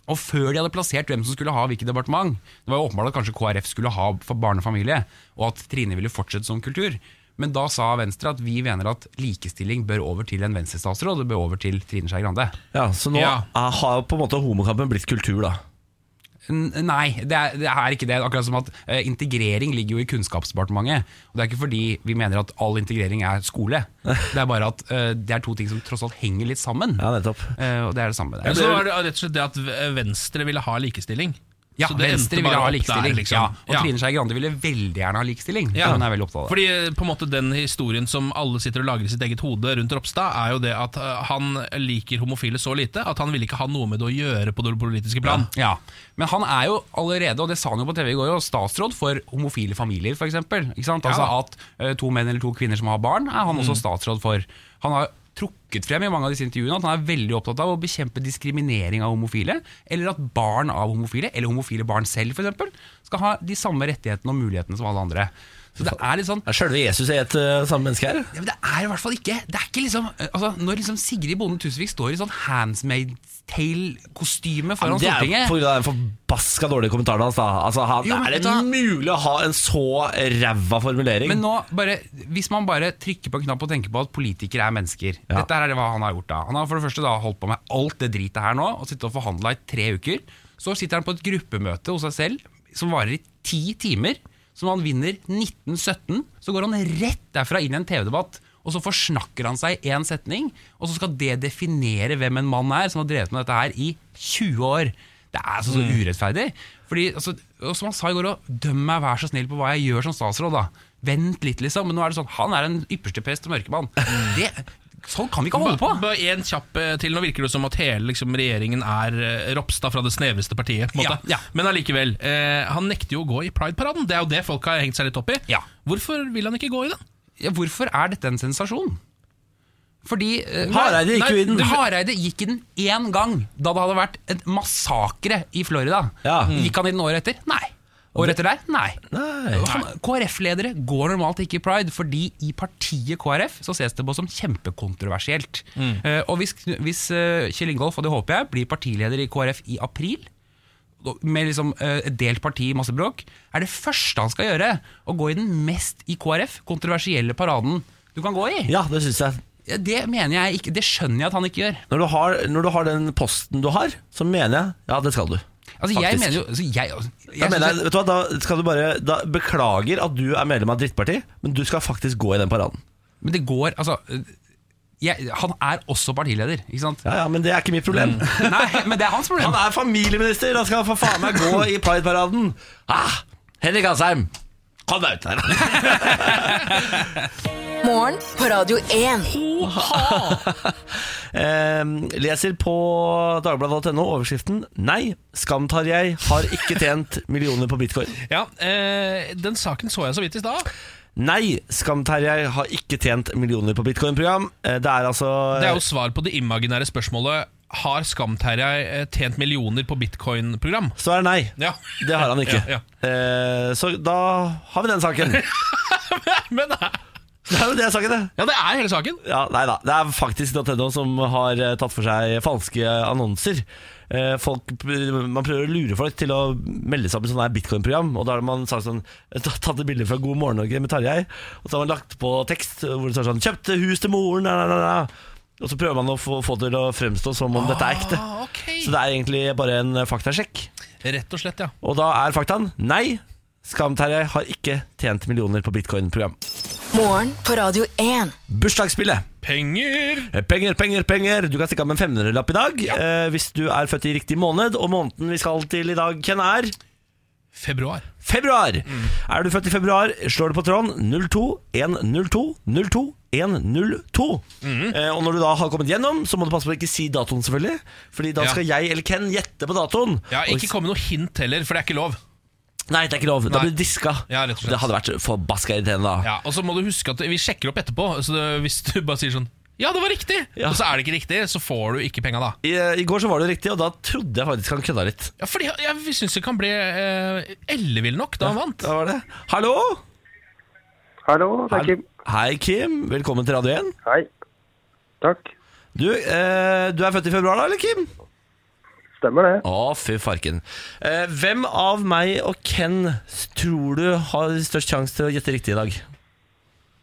S7: Og før de hadde plassert hvem som skulle ha hvilket departement Det var jo åpenbart at kanskje KrF skulle ha for barn og familie, og at Trine ville fortsette som kultur. Men da sa Venstre at vi mener at likestilling bør over til en Venstre-statsråd. Det bør over til Trine Skei Grande.
S3: Ja, Så nå
S4: Ja.
S3: eh, har på en måte homokampen blitt kultur, da.
S7: N- Nei, det er, det er ikke det. Akkurat som at eh, integrering ligger jo i Kunnskapsdepartementet. Og det er ikke fordi vi mener at all integrering er
S3: [LAUGHS]
S7: skole. Det er bare at eh, det er to ting som tross alt henger litt sammen.
S3: Ja, nettopp.
S7: Eh, og det er det samme der.
S4: Så det var det rett og slett det at Venstre ville ha likestilling.
S7: ja,
S4: Så det endte
S7: Venstre
S4: bare
S7: ville ha
S4: opp der,
S7: likestilling.
S4: liksom.
S7: ja, og
S4: Ja.
S7: Trine Skei Grande ville veldig gjerne ha likestilling.
S4: Ja.
S7: Hun er veldig opptatt av det.
S4: Fordi eh, på en måte den historien som alle sitter og lager i sitt eget hode rundt Ropstad, er jo det at eh, han liker homofile så lite at han ville ikke ha noe med det å gjøre på det politiske plan.
S7: Ja, Men han er jo allerede, og det sa han jo på TV i går, jo, statsråd for homofile familier, f.eks. Altså
S4: Ja.
S7: at eh, to menn eller to kvinner som har barn, er han
S3: Mm.
S7: også statsråd for. Han har trukket frem i mange av disse intervjuene at han er veldig opptatt av å bekjempe diskriminering av homofile, eller at barn av homofile, eller homofile barn selv f.eks., skal ha de samme rettighetene og mulighetene som alle andre. Så det er litt sånn
S3: Er sjølve Jesus er et eh, samme menneske her?
S7: ja, men det er i hvert fall ikke Det er ikke liksom altså, Når liksom Sigrid Bonde Tusvik står i sånn Handsmaid's Tale-kostyme
S3: Ja,
S7: foran
S3: men det er
S7: Stortinget
S3: jo på grunn av den forbaska dårlige kommentaren hans. Da. Altså, han,
S7: Jo, men
S3: er
S7: vet du hva?
S3: det mulig å ha en så ræva formulering?
S7: Men nå, bare, hvis man bare trykker på en knapp og tenker på at politikere er mennesker
S3: Ja.
S7: Dette her er det hva han har gjort da Han har for det første da holdt på med alt det dritet her nå Og sittet og forhandlet i tre uker Så sitter han på et gruppemøte hos seg selv Som varer i ti timer Som han vinner 1917 Så går han rett derfra inn i en TV-debatt og så forsnakker han seg i en setning, og så skal det definere hvem en mann er som har drevet med dette her i 20 år. Det er altså så urettferdig. Fordi, altså, og som han sa i går, også, døm meg vær så snill på hva jeg gjør som statsråd. da. Vent litt, liksom. Men nå er det sånn, han er den ypperste prest og mørkemann. Det, sånn kan vi ikke holde på!
S4: Bare- bare en kjapp eh, til. Nå virker det som at hele liksom, regjeringen er eh, Ropstad fra det snevreste partiet. På en måte.
S7: Ja, ja.
S4: Men allikevel. Eh, han nekter jo å gå i Pride-paraden. Det er jo det folk har hengt seg litt opp i.
S7: Ja.
S4: Hvorfor vil han ikke gå i den?
S7: Ja, hvorfor er dette en sensasjon? Fordi eh,
S3: Hareide gikk jo i den.
S7: du- Hareide gikk i den én gang, da det hadde vært en massakre i Florida. Mm.
S3: Ja.
S7: Gikk han i den året etter? Nei. Året etter der? Nei.
S3: Nei.
S7: Sånn, KrF-ledere går normalt ikke i pride, fordi i partiet KrF så ses det på som kjempekontroversielt.
S3: Mm.
S7: Eh, og hvis, hvis eh, Kjell Ingolf, og det håper jeg, blir partileder i KrF i april, med liksom eh, et delt parti, masse bråk, er det første han skal gjøre å gå i den mest i KrF kontroversielle paraden du kan gå i.
S3: Ja, det syns jeg.
S7: Ja, Det mener jeg ikke, det skjønner jeg at han ikke gjør.
S3: Når du, har, når du har den posten du har, så mener jeg ja, det skal du.
S7: Altså, jeg
S3: Faktisk.
S7: mener jo altså, jeg, jeg,
S3: Da, mener
S7: synes
S3: jeg, vet du hva, da skal du bare da, Beklager at du er medlem av et drittparti, men du skal faktisk gå i den paraden.
S7: jeg- men det går Altså, eh, jeg, han er også partileder, ikke sant?
S4: [LAUGHS]
S3: Ja, ja, Men det er ikke mitt problem.
S7: Nei, men det er hans problem.
S3: Han er familieminister, han skal for faen meg gå i Pride-paraden. Ah, Henrik Asheim, kom deg ut her.
S5: Morgen på Radio 1.
S3: Eh, leser på dagbladet.no overskriften 'Nei, Skam-Tarjei har ikke tjent millioner på bitcoin'.
S4: Ja, eh, Den saken så jeg så vidt i stad.
S3: Nei, Skam-Tarjei har ikke tjent millioner på bitcoin-program. Eh, det er altså
S4: Det er jo svar på det imaginære spørsmålet Har Skam-Terjei eh, tjent millioner på bitcoin-program?
S3: Så eh, er det nei.
S4: Ja.
S3: Det [LAUGHS] har han ikke.
S4: Ja, [LAUGHS]
S3: Eh, så da har vi den saken.
S4: Men eh,
S3: Det er jo det saken, det.
S4: Ja, det er hele saken.
S3: Ja, nei da. Det er faktisk Nintendo som har eh, tatt for seg falske annonser. Eh, Folk, man prøver å lure folk til å melde seg opp i sånne her bitcoin-program. Og da har man sagt sånn, [LAUGHS] ta- tatt et bilde fra God morgen Norge med Tarjei, og så har man lagt på tekst hvor det står sånn 'Kjøpte hus til moren', na, na, na, na. Og så prøver man å få, få det til å fremstå som om dette er ekte.
S4: Ah, ok.
S3: Så det er egentlig bare en faktasjekk.
S4: Rett og slett, ja.
S3: Og da er faktaen nei. Skam-Terje har ikke tjent millioner på bitcoin-program.
S5: Morgen på Radio 1.
S3: Bursdagsspillet.
S4: Penger!
S3: Eh, Penger, penger, penger. Du kan stikke av med en 500-lapp i dag eh, hvis du er født i riktig måned. Og måneden vi skal til i dag, Ken, er
S4: Februar.
S3: februar.
S4: Mm.
S3: Er du født i februar, slår du på tråden 02-102-02-102.
S4: Mm.
S3: Eh, og når du da har kommet gjennom, så må du passe på å ikke si datoen, selvfølgelig. Fordi da
S4: Ja.
S3: skal jeg eller Ken gjette på datoen.
S4: Ja,
S3: Og
S4: Ikke kom med noe hint heller, for det er ikke lov.
S3: Nei, det er ikke lov. Da
S4: Nei.
S3: blir du diska.
S4: Ja, rett og slett.
S3: det hadde vært forbaska irriterende da.
S4: Ja, Og så må du huske at vi sjekker opp etterpå. Så det, hvis du bare sier sånn Ja, det var riktig!
S3: Ja.
S4: Og så er det ikke riktig, så får du ikke penga da.
S3: I, eh, I går så var det riktig, og da trodde jeg faktisk han kødda litt.
S4: Ja, fordi jeg, jeg syns det kan bli eh, ellevill nok da han vant.
S3: Da var det. Hallo!
S8: Hallo, det er Kim.
S3: Hei, Kim. Velkommen til Radio 1.
S8: Hei. Takk.
S3: Du, eh, du er født i februar da, eller Kim?
S8: Stemmer det.
S3: Å, fy farken. Eh, hvem av meg og Ken tror du har størst sjanse til å gjette riktig i dag?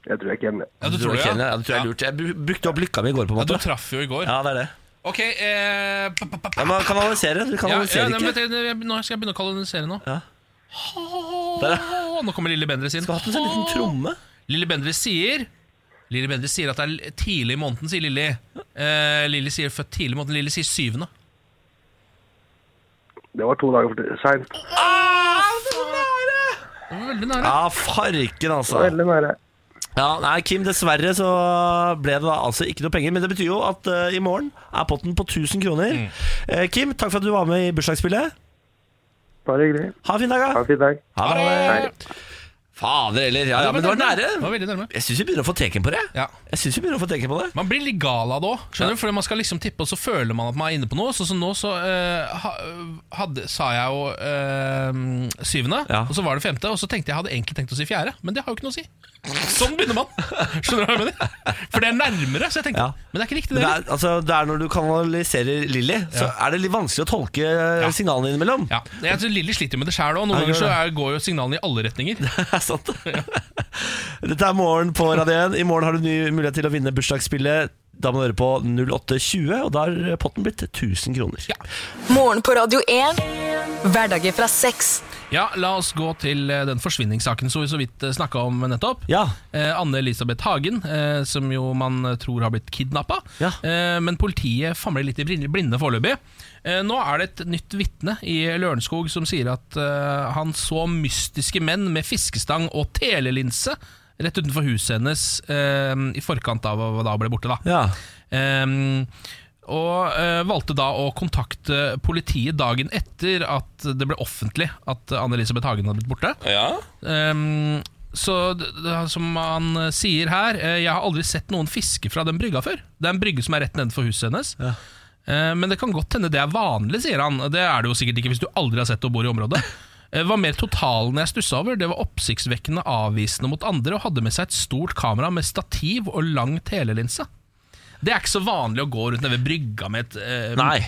S8: Jeg tror jeg ikke hjemme.
S4: Ja, du
S3: det,
S4: tror det,
S3: Ken, ja?
S4: ja?
S3: ja, det tror jeg er lurt. Jeg bru- brukte opp lykka mi i går, på en
S4: Ja, Du
S3: måte.
S4: traff jo i går.
S3: Ja, det er det.
S4: Ok eh, pa, pa, pa, pa.
S3: Ja, man kanaliserer. Du
S4: Ja, ja,
S3: kanaliserer
S4: nei, men
S3: ikke.
S4: vet du, jeg- Nå skal jeg begynne å kolonisere nå.
S3: Ja. Der,
S4: Åh, nå kommer Lille Bendriss inn.
S3: Du har hatt en sånn liten tromme.
S4: Lille Bendriss sier Lille Bendriss sier at det er l- tidlig i måneden, sier Lilly. Eh, Lilly sier født tidlig i måneden. Lilly sier syvende.
S8: Det var to dager for seint.
S4: Det var veldig nære.
S3: Ja, farken, altså.
S8: Veldig nære.
S3: Ja, nei, Kim, dessverre så ble det da altså ikke noe penger. Men det betyr jo at eh, i morgen er potten på 1000 kroner. Eh, Kim, takk for at du var med i bursdagsspillet.
S8: Bare hyggelig.
S3: Ha en fin dag,
S8: Ha
S3: da.
S8: en fin dag.
S3: Ha det.
S8: Hei.
S3: Fader heller. Ja, ja, men det var
S4: nærme.
S3: nære.
S4: Det var veldig nærme.
S3: Jeg syns vi begynner å få teken på det.
S4: Ja.
S3: Jeg synes vi begynner å få teken på det
S4: Man blir litt gal av det òg, skjønner du? Fordi man skal liksom tippe, og så føler man at man er inne på noe. Så, så nå så eh, ha, hadde, sa jeg jo eh, syvende,
S3: Ja.
S4: og så var det femte, og så tenkte jeg hadde egentlig tenkt å si fjerde, men det har jo ikke noe å si. Sånn begynner man. Skjønner du hva jeg mener? For det er nærmere, så jeg tenkte.
S3: Ja.
S4: Men det er ikke riktig,
S3: Men
S4: det.
S3: det
S4: heller.
S3: er, altså, det er når du kanaliserer Lilly, så er det litt vanskelig å tolke eh, signalene innimellom.
S4: Ja. Jeg tror Lilly sliter jo med det sjæl òg. Noen
S3: Ja,
S4: ganger så
S3: gjør
S4: er, går jo signalene i alle retninger.
S3: Det [LAUGHS] er sant. Dette er Morgen på Radio 1. I morgen har du ny mulighet til å vinne bursdagsspillet. Da må du høre på 0820, og da har potten blitt 1000 kroner.
S5: Morgen på Radio 1. Hverdager fra seks.
S4: Ja, La oss gå til eh, den forsvinningssaken som vi så vidt snakka om nettopp.
S3: Ja.
S4: Eh, Anne-Elisabeth Hagen, eh, som jo man eh, tror har blitt kidnappa.
S3: Ja.
S4: Eh, men politiet famler litt i blinde- blinde foreløpig. Eh, nå er det et nytt vitne i Lørenskog som sier at eh, han så mystiske menn med fiskestang og telelinse rett utenfor huset hennes eh, i forkant av hva da hun ble borte. da
S3: Ja.
S4: Ehm, og eh, valgte da å kontakte politiet dagen etter at det ble offentlig at Anne-Elisabeth Hagen hadde blitt borte. Ehm, så d- d- som han eh, sier her, eh, jeg har aldri sett noen fiske fra den brygga før. Det er en brygge som er rett nedenfor huset hennes. Eh, Men det kan godt hende det er vanlig, sier han. Det er det jo sikkert ikke hvis du aldri har sett og bor i området.
S3: [LAUGHS]
S4: Eh, Var mer totalen jeg stussa over. Det var oppsiktsvekkende avvisende mot andre og hadde med seg et stort kamera med stativ og lang telelinse. Det er ikke så vanlig å gå rundt nede ved brygga med et eh,
S3: Nei.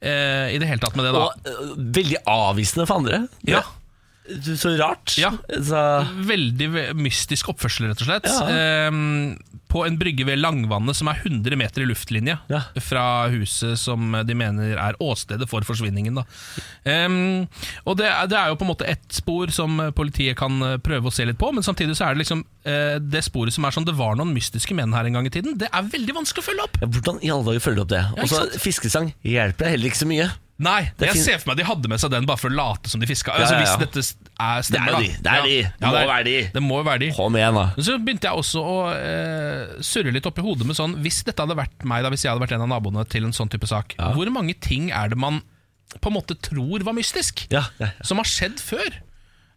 S4: eh, I det hele tatt med det, da.
S3: Og eh, veldig avvisende for andre.
S4: Ja.
S3: Du, Så rart.
S4: Ja.
S3: Så,
S4: Veldig ve- mystisk oppførsel, rett og slett.
S3: Ja.
S4: Ehm, på en brygge ved Langvannet som er 100 meter i luftlinje
S3: Ja.
S4: fra huset som de mener er åstedet for forsvinningen. Da. Ehm, og det er, det er jo på en måte ett spor som politiet kan eh, prøve å se litt på, men samtidig så er det liksom eh, det sporet som er sånn det var noen mystiske menn her en gang i tiden. Det er veldig vanskelig å følge opp!
S3: ja, hvordan i alle dager følger du opp det?
S4: Ja,
S3: Og
S4: ikke
S3: så
S4: sant?
S3: Fiskesang hjelper deg heller ikke så mye.
S4: Nei,
S3: Det
S4: Jeg
S3: fin-
S4: ser for meg de hadde med seg den bare for å late som de fiska.
S3: Ja,
S4: Altså,
S3: ja, ja.
S4: hvis dette s- er
S3: Det er
S4: stemmer, da.
S3: de. Det er de. Det
S4: Ja,
S3: må
S4: er-
S3: være de.
S4: Det må jo være de.
S3: Kom igjen, da.
S4: Men så begynte jeg også å eh, surre litt opp i hodet med sånn Hvis dette hadde vært meg, da, hvis jeg hadde vært en av naboene til en sånn type sak, hvor mange ting er det man på en måte tror var mystisk? [LAUGHS]
S3: Ja, ja, ja.
S4: Som har skjedd før?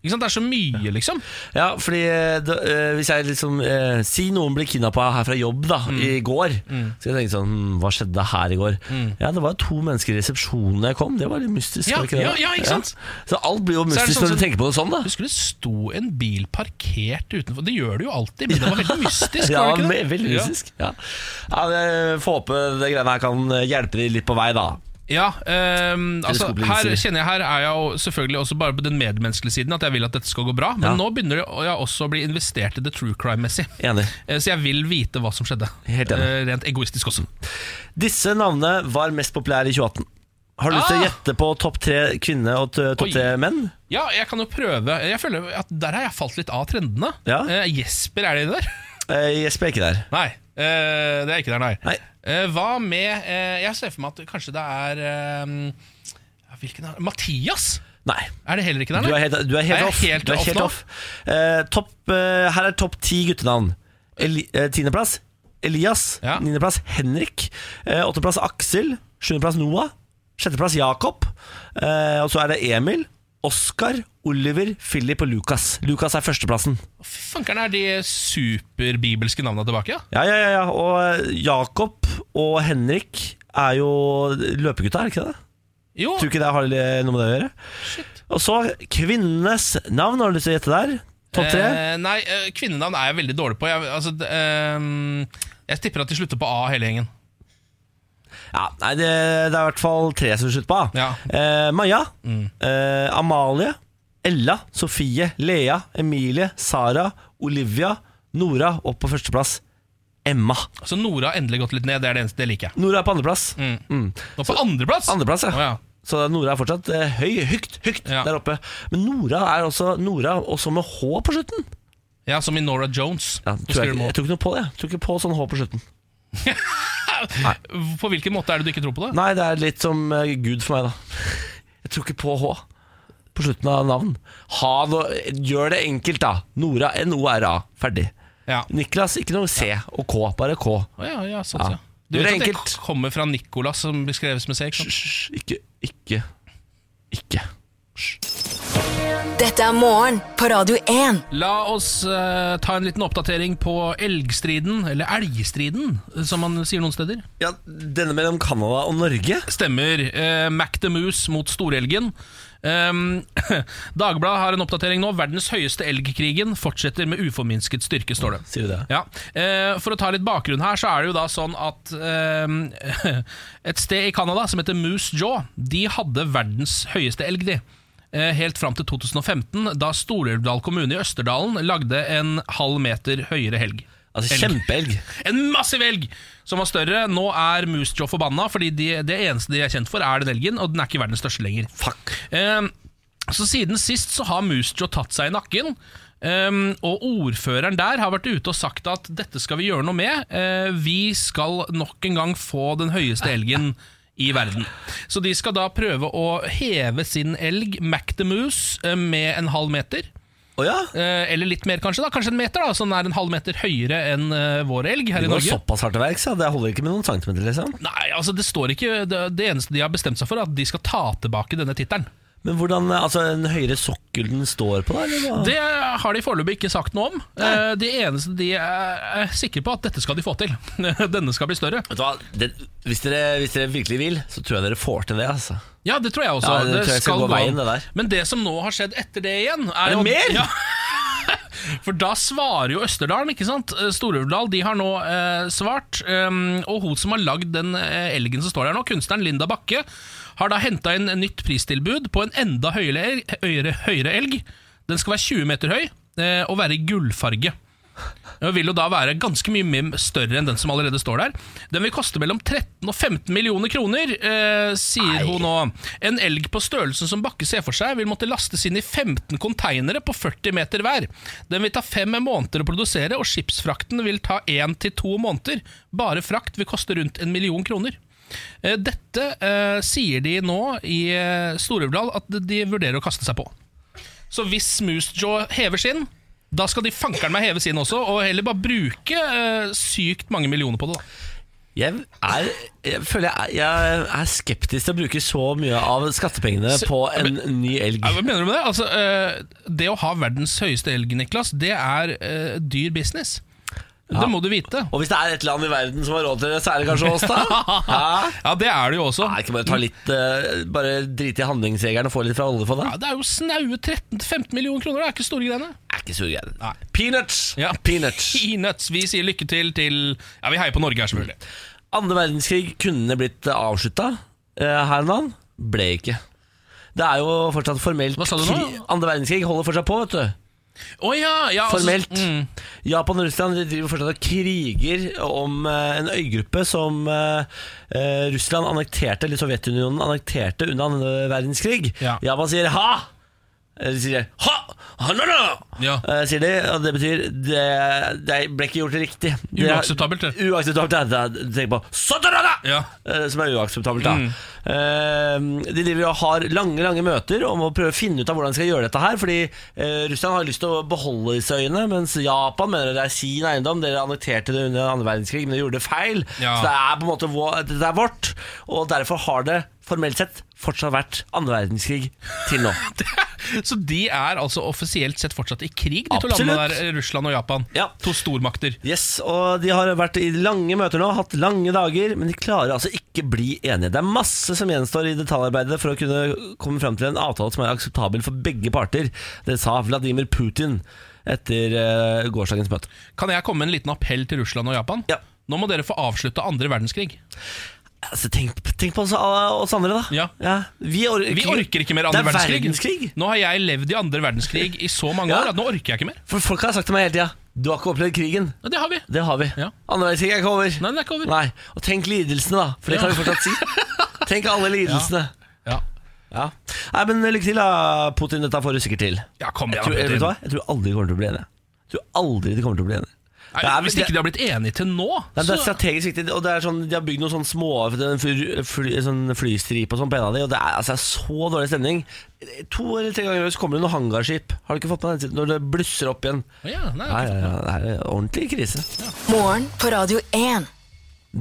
S4: Ikke Ikke sant? Det er så mye, liksom.
S3: Ja, fordi eh, da, eh, hvis jeg liksom eh, Si noen blir kidnappa her fra jobb da
S4: Mm.
S3: i går. Så jeg tenke sånn hm, Hva skjedde her i går? Ja, det var to mennesker i resepsjonen da jeg kom. Det var litt mystisk.
S4: Mm. Ja,
S3: var ikke det,
S4: ja,
S3: da?
S4: ja, ikke sant?
S3: Så alt blir jo
S4: det
S3: mystisk
S4: sånn
S3: når du
S4: som-
S3: tenker på det sånn, da.
S4: Husker du det sto en bil parkert utenfor? Det gjør det jo alltid, men det
S3: [LAUGHS]
S4: var veldig mystisk.
S3: Ja,
S4: var det ikke
S3: ve-
S4: det?
S3: veldig
S4: Ja.
S3: mystisk. Ja. Ja. men, eh, Får håpe det greiene her kan eh, hjelpe de litt på vei, da.
S4: Ja, ehm, altså her
S3: Teleskoplinser.
S4: kjenner jeg her er jeg jo selvfølgelig også bare på den medmenneskelige siden at jeg vil at dette skal gå bra, men
S3: Ja.
S4: nå begynner det å- jeg også å bli investert i det true crime-messig.
S3: Enig.
S4: Eh, Så jeg vil vite hva som skjedde.
S3: Helt enig.
S4: Eh, Rent egoistisk også.
S3: Disse navnene var mest populære i 2018. Har du lyst til å
S4: Ah!
S3: gjette på topp tre kvinner og t- topp
S4: Oi.
S3: tre menn?
S4: Ja, jeg kan jo prøve. Jeg føler at Der har jeg falt litt av trendene.
S3: Ja.
S4: Eh, Jesper, er det der? [LAUGHS]
S3: Eh, Jesper er ikke der.
S4: Nei, eh, det er ikke der, nei.
S3: Nei.
S4: Eh, hva med eh, Jeg ser for meg at kanskje det er eh, ja, Hvilken er Mathias?
S3: Nei.
S4: Er det heller ikke der,
S3: Du er
S4: nei?
S3: helt, du er helt
S4: Er jeg
S3: off.
S4: helt
S3: du er
S4: off
S3: helt
S4: nå?
S3: off. Eh, topp, eh, her er topp ti guttenavn. Eli, eh, tiendeplass Elias.
S4: Ja.
S3: Niendeplass Henrik. Eh, åttendeplass Aksel. Sjuendeplass Noah. Sjetteplass Jakob. Eh, og så er det Emil. Oskar, Oliver, Philip og Lukas. Lukas er førsteplassen.
S4: Fy Fankeren, er de superbibelske navna tilbake? Ja?
S3: Ja, ja, ja, ja. Og eh, Jakob og Henrik er jo løpegutta, er det ikke det?
S4: Jo,
S3: Tror ikke det har noe med det å gjøre. Og så kvinnenes navn, har du lyst til å gjette der? Topp tre?
S4: Eh, nei, eh, kvinnenavn er jeg veldig dårlig på. Jeg, altså, d- ehm, jeg tipper at de slutter på A, hele gjengen.
S3: Ja, nei, det, det er i hvert fall tre som slutter på A.
S4: Ja. Mm.
S3: Eh, Maja, eh, Amalie, Ella, Sofie, Lea, Emilie, Sara, Olivia, Nora og på førsteplass Emma.
S4: Så Nora har endelig gått litt ned. Det er det eneste det liker jeg.
S3: Nora er på andreplass. Mm.
S4: Nå på andreplass!
S3: Andreplass, ja.
S4: Mm. Å, ja.
S3: Så Nora er fortsatt eh, høy, høyt, høyt
S4: Ja.
S3: der oppe. Men Nora er også Nora, også med H på slutten.
S4: ja, som i Nora Jones.
S3: Ja, tror
S4: Hun
S3: jeg,
S4: skriver
S3: ikke-
S4: mål.
S3: jeg tror ikke noe på det. Jeg tror ikke på sånn H på slutten.
S4: På hvilken måte er det du ikke tror på det?
S3: Nei, det er litt som eh, Gud for meg, da. Jeg tror ikke på H på slutten av navn. Ha noe, gjør det enkelt, da. Nora, N-O-R-A. Ferdig.
S4: Ja.
S3: Niklas, ikke noe C og K, bare K.
S4: Å, ja, ja, sånn,
S3: Ja.
S4: ja.
S3: Det
S4: Du vet
S3: er
S4: at det
S3: enkelt.
S4: k- kommer fra Nicolas, som beskreves med C? ikke sant?
S3: Hysj, ikke, ikke, ikke. Hysj.
S5: Dette er morgen på Radio 1.
S4: La oss eh, ta en liten oppdatering på elgstriden, eller elgstriden, eh, som man sier noen steder.
S3: Ja, denne mellom Canada og Norge?
S4: Stemmer. Eh, Mac the Moose mot storelgen. Um, [LAUGHS] Dagbladet har en oppdatering nå. 'Verdens høyeste elgkrigen fortsetter med uforminsket styrke', står det.
S3: Sier du det?
S4: Ja. Eh, for å ta litt bakgrunn her, så er det jo da sånn at eh, [LAUGHS] et sted i Canada som heter Moose Jaw, de hadde verdens høyeste elg, de. Eh, Helt fram til 2015, da Stor-Elvdal kommune i Østerdalen lagde en halv meter høyere helg.
S3: Altså,
S4: Elg.
S3: kjempeelg.
S4: En massiv elg som var større. Nå er Moose Jaw forbanna, fordi de, det eneste de er kjent for, er den elgen, og den er ikke verdens største lenger.
S3: Fuck.
S4: Ehm, så siden sist så har Moose Jaw tatt seg i nakken. ehm, og ordføreren der har vært ute og sagt at dette skal vi gjøre noe med. Eh, vi skal nok en gang få den høyeste elgen i verden. Så de skal da prøve å heve sin elg, Mac the Moose, eh, med en halv meter.
S3: Å ja?
S4: Eh, eller litt mer, kanskje. da Kanskje en meter, da så den er en halv meter høyere enn eh, vår elg her
S3: Det
S4: i
S3: går
S4: Norge.
S3: såpass hardt til verks, ja. Det holder ikke med noen centimeter, liksom.
S4: Nei, altså det står ikke Det, det eneste de har bestemt seg for, er at de skal ta tilbake denne tittelen.
S3: Men hvordan altså, en høyere sokkel den står på, da? Eller hva?
S4: Det har de foreløpig ikke sagt noe om. Eh, De eneste de er, er sikre på, at dette skal de få til. [LAUGHS] Denne skal bli større.
S3: Vet du hva? Det, hvis, dere, hvis dere virkelig vil, så tror jeg dere får til det, altså.
S4: Ja, det tror jeg også.
S3: Ja, det tror jeg skal gå veien, det der.
S4: Men det som nå har skjedd etter det igjen Er,
S3: det
S4: jo-
S3: mer?
S4: Ja. [LAUGHS] For da svarer jo Østerdalen, ikke sant? Storulvdal, de har nå eh, svart. Um, og hun som har lagd den eh, elgen som står der nå, kunstneren Linda Bakke, har da henta inn en nytt pristilbud på en enda høyere elg. Høyere, høyere elg. Den skal være 20 meter høy eh, og være i gullfarge. Den vil jo da være ganske mye mer større enn den som allerede står der. Den vil koste mellom 13 og 15 millioner kroner, eh, sier hun nå. En elg på størrelsen som Bakke ser for seg, vil måtte lastes inn i 15 konteinere på 40 meter hver. Den vil ta fem måneder å produsere, og skipsfrakten vil ta én til to måneder. Bare frakt vil koste rundt en million kroner. Eh, Dette eh, sier de nå i eh, Stor-Elvdal at de vurderer å kaste seg på. Så hvis Moosejaw hever sin, da skal de fankeren meg heve sin også, og heller bare bruke eh, sykt mange millioner på det. da
S3: Jeg, er, jeg føler jeg er, jeg er skeptisk til å bruke så mye av skattepengene
S4: Så-
S3: på en ny elg.
S4: Ja, Hva mener du med det? Altså, eh, det å ha verdens høyeste elg, Niklas, det er eh, dyr business. Det må du vite.
S3: Og hvis det er et land i verden som har råd til det, så er det kanskje
S4: [LAUGHS]
S3: oss, da. Hæ?
S4: Ja, det er det jo også.
S3: Nei, ikke bare ta litt eh, Bare drite i handlingsjegeren og få litt fra oljefondet?
S4: Ja, det er jo snaue 13-15 millioner kroner, det er ikke store greiene.
S3: Det er ikke sure greier. Peanuts!
S4: Ja.
S3: Peanuts.
S4: [LAUGHS] Peanuts. Vi sier lykke til til Ja, vi heier på Norge her, selvfølgelig.
S3: Andre verdenskrig kunne blitt avslutta her om dagen. Ble ikke. Det er jo fortsatt formelt
S4: Hva sa du nå?
S3: krig- Andre verdenskrig holder fortsatt på, vet du.
S4: Å ja, ja, altså-
S3: Formelt.
S4: mm.
S3: Japan og Russland de driver fortsatt og kriger om eh, en øygruppe som eh, eh, Russland annekterte, eller Sovjetunionen annekterte under andre verdenskrig.
S4: Ja.
S3: Japan sier ha! Eller sier ha! ha no, no!
S4: Ja.
S3: Eh, sier de, og det betyr det, det ble ikke gjort riktig. Det,
S4: Uakseptabelt, det.
S3: Uakseptabelt, det er det. Tenk på Sotorada!
S4: Ja. Mm.
S3: Eh, Som er uakseptabelt, da. Eh, de driver og har lange lange møter om å prøve å finne ut av hvordan de skal gjøre dette her. Fordi eh, Russland har lyst til å beholde disse øyene, mens Japan mener det er sin eiendom. Dere annekterte det under andre verdenskrig, men dere gjorde det feil.
S4: Ja.
S3: Så det er på en måte vår, det er vårt. Og derfor har det formelt sett fortsatt vært andre verdenskrig til nå.
S4: [LAUGHS] [LAUGHS] Så de er altså offisielt sett fortsatt i krig, de to landene
S3: Absolutt.
S4: der, Russland og Japan.
S3: Ja.
S4: To stormakter.
S3: Yes, og De har vært i lange møter nå, hatt lange dager, men de klarer altså ikke bli enige. Det er masse som gjenstår i detaljarbeidet for å kunne komme fram til en avtale som er akseptabel for begge parter. Det sa Vladimir Putin etter eh, gårsdagens møte.
S4: Kan jeg komme med en liten appell til Russland og Japan?
S3: Ja.
S4: Nå må dere få avslutta andre verdenskrig.
S3: Altså, tenk, tenk på oss, oss andre, da.
S4: Ja.
S3: vi, or
S4: Vi orker ikke mer andre
S3: det er
S4: verdenskrig.
S3: verdenskrig.
S4: Nå har jeg levd i andre verdenskrig i så
S3: [LAUGHS]
S4: mange
S3: Ja.
S4: år at nå orker jeg ikke mer.
S3: For Folk har sagt til meg hele tida Du har ikke opplevd krigen.
S4: Ja, det har vi.
S3: Det har vi.
S4: Ja.
S3: Andre verdenskrig er ikke over.
S4: Nei, den er ikke over.
S3: Nei. Og tenk lidelsene, da. For det
S4: Ja.
S3: kan vi
S4: [LAUGHS]
S3: fortsatt si. Tenk alle lidelsene.
S4: Ja,
S3: Ja. Nei, men eh, lykke til da, Putin. Dette får du sikkert til.
S4: ja kom
S3: Jeg
S4: igjen.
S3: tror, eh, vet
S4: Putin.
S3: du hva? Jeg tror aldri de kommer til å bli enige. Jeg tror aldri de kommer til å bli enige.
S4: Nei,
S3: Det er-
S4: hvis ikke de har blitt enige til nå,
S3: Nei, det er
S4: så
S3: strategisk viktig, og det er sånn, de har bygd noen sånne små en fly, fly, sånn flystripe og sånn på en av de, og det er altså, så dårlig stemning. To eller tre ganger i år så kommer det noen hangarskip. Har du ikke fått med deg det? Når det blusser opp igjen.
S4: ja, nei,
S3: Nei, ja, ja, det er ordentlig krise.
S5: Morgen på Radio 1.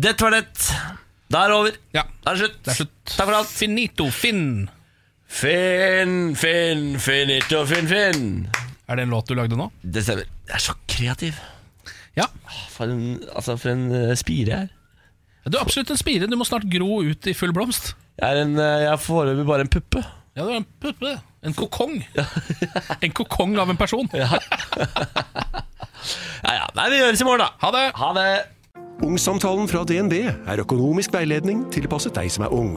S3: Det var det. Da er det over.
S4: Ja.
S3: Da er det slutt.
S4: Det er slutt.
S3: Takk for alt.
S4: Finito, Finn.
S3: Finn, Finn, Finito, Finn, Finn.
S4: Er det en låt du lagde nå?
S3: Det stemmer. Jeg er så kreativ.
S4: Ja.
S3: For en, altså for en eh, spire jeg er.
S4: Du er absolutt en spire. Du må snart gro ut i full blomst.
S3: Jeg er, en, eh, jeg er foreløpig bare en puppe.
S4: Ja, du er en puppe. En kokong.
S3: [LAUGHS]
S4: en kokong av en person.
S3: Ja, ja. Nei, vi høres i morgen, da.
S4: Ha det!
S3: Ha det.
S1: Ungsamtalen fra DNB er økonomisk veiledning tilpasset deg som er ung.